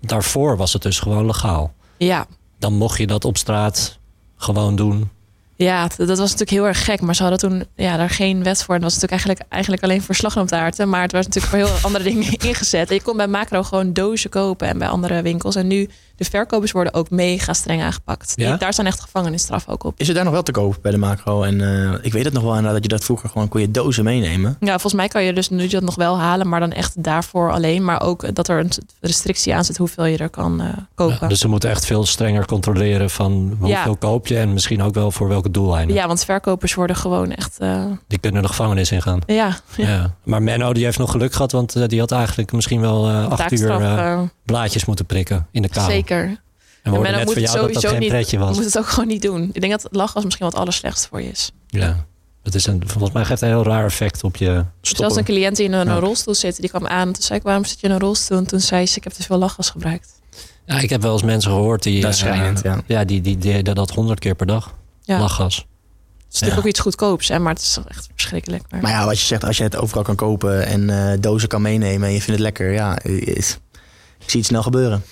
[SPEAKER 1] daarvoor was het dus gewoon legaal.
[SPEAKER 2] ja.
[SPEAKER 1] Dan mocht je dat op straat gewoon doen.
[SPEAKER 2] Ja, t- dat was natuurlijk heel erg gek. Maar ze hadden toen ja, daar geen wet voor. En dat was natuurlijk eigenlijk, eigenlijk alleen voor slagroomtaarten. Maar het was natuurlijk voor heel andere (laughs) dingen ingezet. En je kon bij Macro gewoon dozen kopen en bij andere winkels. En nu, de verkopers worden ook mega streng aangepakt. Die-
[SPEAKER 1] Ja?
[SPEAKER 2] daar staan echt gevangenisstraf ook op.
[SPEAKER 3] Is het daar nog wel te koop bij de macro? En eh, ik weet het nog wel inderdaad dat je dat vroeger gewoon kon je dozen meenemen.
[SPEAKER 2] Ja, volgens mij kan je dus nu dat nog wel halen. Maar dan echt daarvoor alleen. Maar ook dat er een t- restrictie aan zit hoeveel je er kan eh, kopen.
[SPEAKER 1] Ja, dus ze moeten echt veel strenger controleren van hoeveel
[SPEAKER 2] Ja.
[SPEAKER 1] koop je en misschien ook wel voor welke doeleinden.
[SPEAKER 2] Ja, want verkopers worden gewoon echt... eh,
[SPEAKER 1] Die kunnen de gevangenis ingaan.
[SPEAKER 2] ja,
[SPEAKER 1] Ja.
[SPEAKER 2] (laughs)
[SPEAKER 1] Maar Menno die heeft nog geluk gehad, want eh, die had eigenlijk misschien wel eh, acht uur
[SPEAKER 2] taakstraf,
[SPEAKER 1] eh,
[SPEAKER 2] eh,
[SPEAKER 1] blaadjes moeten prikken in de kou.
[SPEAKER 2] zeker.
[SPEAKER 1] En we hoorden
[SPEAKER 2] Menno
[SPEAKER 1] net
[SPEAKER 2] moet
[SPEAKER 1] van
[SPEAKER 2] het
[SPEAKER 1] jou dat dat
[SPEAKER 2] sowieso
[SPEAKER 1] geen
[SPEAKER 2] niet-
[SPEAKER 1] pretje
[SPEAKER 2] Je
[SPEAKER 1] was.
[SPEAKER 2] moet het ook gewoon niet doen. Ik denk dat lachgas misschien wat allerslechtst voor je is.
[SPEAKER 1] Ja. Dat is een, volgens mij geeft het een heel raar effect op je...
[SPEAKER 2] Zelfs een cliënt die in een
[SPEAKER 3] Ja.
[SPEAKER 2] rolstoel zit, die kwam aan. en Toen zei ik, waarom zit je in een rolstoel? En toen zei ze, ik heb te veel lachgas gebruikt.
[SPEAKER 1] Ja, ik heb wel eens mensen gehoord die...
[SPEAKER 3] dat is
[SPEAKER 1] eh,
[SPEAKER 3] schrijnend, ja.
[SPEAKER 1] Ja, die, die, die deden dat honderd keer per dag.
[SPEAKER 2] Ja.
[SPEAKER 1] Lachgas.
[SPEAKER 2] Het is natuurlijk ook iets goedkoops, hè, maar het is toch echt verschrikkelijk. Maar,
[SPEAKER 3] Maar ja, wat je zegt, als je het overal kan kopen en eh, dozen kan meenemen en je vindt het lekker, ja, is, ik zie het snel gebeuren.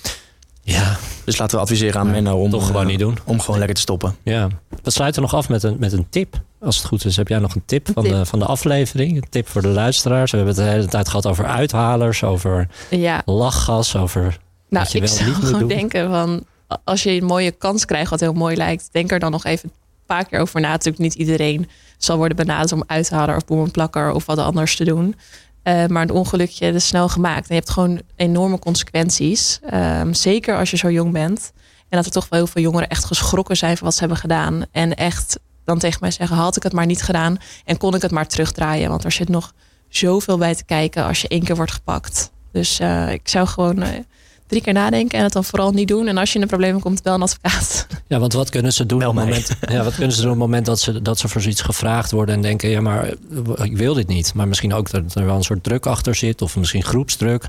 [SPEAKER 1] Ja,
[SPEAKER 3] Dus laten we adviseren aan
[SPEAKER 1] Ja,
[SPEAKER 3] Menno om,
[SPEAKER 1] toch gewoon
[SPEAKER 3] eh,
[SPEAKER 1] niet doen.
[SPEAKER 3] om gewoon lekker te stoppen.
[SPEAKER 1] Ja. We sluiten nog af met een, met een tip. Als het goed is, heb jij nog een tip,
[SPEAKER 2] Een
[SPEAKER 1] van,
[SPEAKER 2] tip.
[SPEAKER 1] De, van de aflevering? Een tip voor de luisteraars? We hebben het de hele tijd gehad over uithalers, over
[SPEAKER 2] ja,
[SPEAKER 1] lachgas, over...
[SPEAKER 2] nou,
[SPEAKER 1] je
[SPEAKER 2] ik
[SPEAKER 1] wel
[SPEAKER 2] zou
[SPEAKER 1] niet moet
[SPEAKER 2] gewoon
[SPEAKER 1] doen.
[SPEAKER 2] denken van, a- als je een mooie kans krijgt wat heel mooi lijkt, denk er dan nog even een paar keer over na. Natuurlijk niet iedereen zal worden benaderd om uit te halen of boemenplakker of wat anders te doen. Eh, maar een ongelukje dat is snel gemaakt. En je hebt gewoon enorme consequenties. Ehm, zeker als je zo jong bent. En dat er toch wel heel veel jongeren echt geschrokken zijn van wat ze hebben gedaan. En echt dan tegen mij zeggen, had ik het maar niet gedaan. En kon ik het maar terugdraaien. Want er zit nog zoveel bij te kijken als je één keer wordt gepakt. Dus eh, ik zou gewoon eh, drie keer nadenken en het dan vooral niet doen. En als je in de problemen komt, wel een advocaat. (laughs)
[SPEAKER 1] Ja, want wat kunnen ze doen, op
[SPEAKER 3] Bel
[SPEAKER 1] het
[SPEAKER 3] mij.
[SPEAKER 1] moment, ja, wat kunnen ze doen op het moment dat ze, dat ze voor zoiets gevraagd worden en denken, ja, maar eh, ik wil dit niet. Maar misschien ook dat er wel een soort druk achter zit of misschien groepsdruk.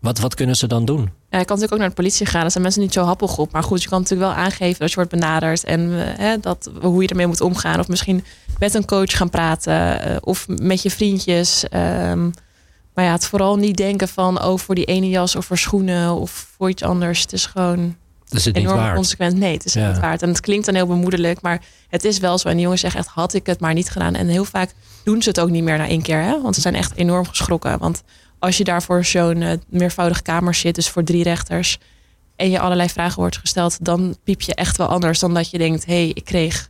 [SPEAKER 1] Wat, wat kunnen ze dan doen?
[SPEAKER 2] Ja, je kan natuurlijk ook naar de politie gaan. Dat zijn mensen niet zo happig op. Maar goed, je kan natuurlijk wel aangeven dat je wordt benaderd. En eh, hè, dat, hoe je ermee moet omgaan. Of misschien met een coach gaan praten. eh, of met je vriendjes. ehm. maar ja, het vooral niet denken van... oh, voor die ene jas of voor schoenen of voor iets anders. Het is gewoon
[SPEAKER 1] Dat is het niet
[SPEAKER 2] enorm
[SPEAKER 1] waard.
[SPEAKER 2] consequent. Nee, het is
[SPEAKER 1] Ja.
[SPEAKER 2] niet waard. En het klinkt dan heel bemoedelijk. Maar het is wel zo. En die jongens zeggen echt, had ik het maar niet gedaan. En heel vaak doen ze het ook niet meer na één keer. Hè? Want ze zijn echt enorm geschrokken. Want als je daar voor zo'n eh, meervoudige kamer zit, dus voor drie rechters, en je allerlei vragen wordt gesteld, dan piep je echt wel anders dan dat je denkt, hé, hey, ik kreeg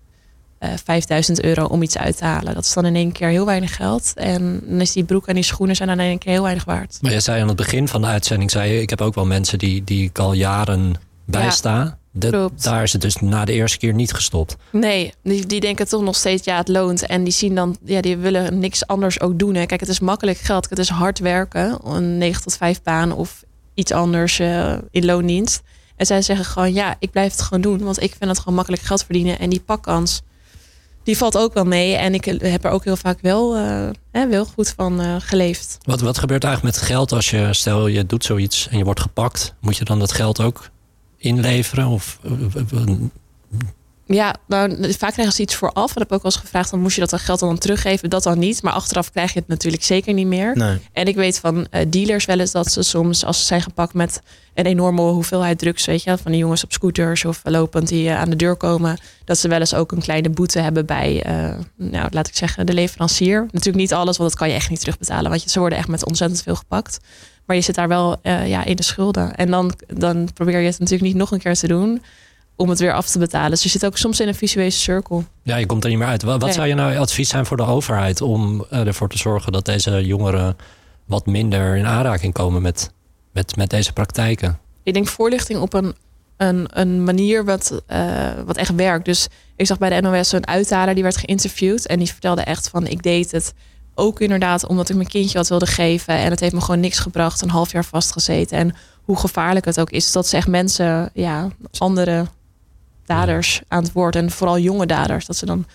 [SPEAKER 2] eh, 5000 euro om iets uit te halen. Dat is dan in één keer heel weinig geld. En dan is die broek en die schoenen zijn dan in één keer heel weinig waard.
[SPEAKER 1] Maar jij zei aan het begin van de uitzending, zei je, ik heb ook wel mensen die, die ik al jaren bijsta. Dat-
[SPEAKER 2] klopt.
[SPEAKER 1] daar is het dus na de eerste keer niet gestopt.
[SPEAKER 2] Nee, die, die denken toch nog steeds, ja, het loont. En die zien dan, ja, die willen niks anders ook doen. Hè. Kijk, het is makkelijk geld. Het is hard werken. Een 9 tot 5 baan of iets anders eh, in loondienst. En zij zeggen gewoon, ja, ik blijf het gewoon doen. Want ik vind het gewoon makkelijk geld verdienen. En die pakkans, die valt ook wel mee. En ik heb er ook heel vaak wel, eh, hè, wel goed van eh, geleefd.
[SPEAKER 1] Wat, wat gebeurt eigenlijk met geld als je, stel je doet zoiets en je wordt gepakt, moet je dan dat geld ook inleveren? Of, eh, eh, eh,
[SPEAKER 2] Ja, nou, vaak krijgen ze iets vooraf. En dat heb ik ook wel eens gevraagd, dan moest je dat dan geld dan teruggeven? Dat dan niet. Maar achteraf krijg je het natuurlijk zeker niet meer.
[SPEAKER 3] Nee.
[SPEAKER 2] En ik weet van eh, dealers wel eens dat ze soms, als ze zijn gepakt met een enorme hoeveelheid drugs, weet je, wel, van die jongens op scooters of lopend die eh, aan de deur komen, dat ze wel eens ook een kleine boete hebben bij, eh, nou, laat ik zeggen, de leverancier. Natuurlijk niet alles, want dat kan je echt niet terugbetalen, want je- ze worden echt met ontzettend veel gepakt. Maar je zit daar wel eh, ja, in de schulden. En dan, dan probeer je het natuurlijk niet nog een keer te doen om het weer af te betalen. Dus je zit ook soms in een visueuze cirkel.
[SPEAKER 1] ja, je komt er niet meer uit. Wat, wat
[SPEAKER 2] Nee.
[SPEAKER 1] zou je nou advies zijn voor de overheid om eh, ervoor te zorgen dat deze jongeren wat minder in aanraking komen met, met, met deze praktijken?
[SPEAKER 2] Ik denk voorlichting op een, een, een manier wat, eh, wat echt werkt. Dus ik zag bij de NOS een uithaler die werd geïnterviewd. En die vertelde echt van ik deed het ook inderdaad omdat ik mijn kindje wat wilde geven. En het heeft me gewoon niks gebracht. Een half jaar vastgezeten. En hoe gevaarlijk het ook is. Dat ze echt mensen, ja, andere daders aan het woord. En vooral jonge daders. Dat ze dan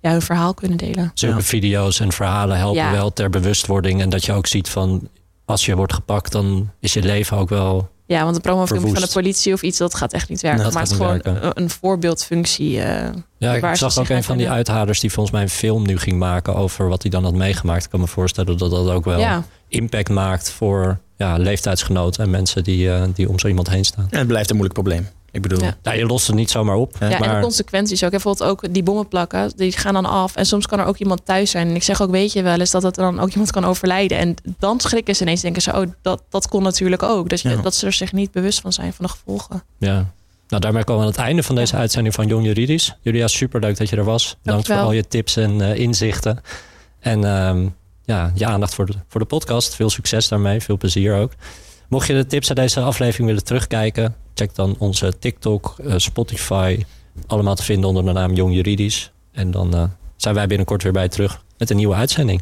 [SPEAKER 2] ja, hun verhaal kunnen delen.
[SPEAKER 1] Zulke
[SPEAKER 3] Ja.
[SPEAKER 1] video's en verhalen helpen
[SPEAKER 2] Ja.
[SPEAKER 1] wel ter bewustwording. En dat je ook ziet van als je wordt gepakt, dan is je leven ook wel.
[SPEAKER 2] Ja, want een promofilmpje van de
[SPEAKER 1] Verwoest.
[SPEAKER 2] politie of iets, dat gaat echt niet werken.
[SPEAKER 1] Nee, dat
[SPEAKER 2] maar het is
[SPEAKER 1] gaat
[SPEAKER 2] gewoon
[SPEAKER 1] niet werken.
[SPEAKER 2] een een voorbeeldfunctie. eh,
[SPEAKER 1] Ja,
[SPEAKER 2] Waar
[SPEAKER 1] ik
[SPEAKER 2] ze
[SPEAKER 1] zag
[SPEAKER 2] zich
[SPEAKER 1] ook een van die
[SPEAKER 2] aan
[SPEAKER 1] uithalers die volgens mij een film nu ging maken over wat hij dan had meegemaakt. Ik kan me voorstellen dat dat ook wel
[SPEAKER 2] ja.
[SPEAKER 1] impact maakt voor ja, leeftijdsgenoten en mensen die, eh, die om zo iemand heen staan.
[SPEAKER 3] En het blijft een moeilijk probleem. Ik bedoel,
[SPEAKER 2] Ja.
[SPEAKER 1] Nou, je lost het niet zomaar op.
[SPEAKER 3] Ja,
[SPEAKER 2] Ja, en
[SPEAKER 1] maar
[SPEAKER 2] de consequenties ook. En Bijvoorbeeld ook die bommen plakken, die gaan dan af. En soms kan er ook iemand thuis zijn. En ik zeg ook, weet je wel eens dat het dan ook iemand kan overlijden. En dan schrikken ze ineens, denken ze, oh, dat, dat kon natuurlijk ook. Dus je-
[SPEAKER 3] Ja.
[SPEAKER 2] dat ze er zich niet bewust van zijn, van de gevolgen.
[SPEAKER 1] ja. Nou, daarmee komen we aan het einde van deze uitzending van Jong Juridisch. Julia, superleuk dat je er was. Dank voor
[SPEAKER 2] Dankjewel.
[SPEAKER 1] al je tips en eh, inzichten. En ehm, ja, je aandacht voor de, voor de podcast. Veel succes daarmee, veel plezier ook. Mocht je de tips uit deze aflevering willen terugkijken, check dan onze TikTok, eh, Spotify. Allemaal te vinden onder de naam Jong Juridisch. En dan eh, zijn wij binnenkort weer bij je terug met een nieuwe uitzending.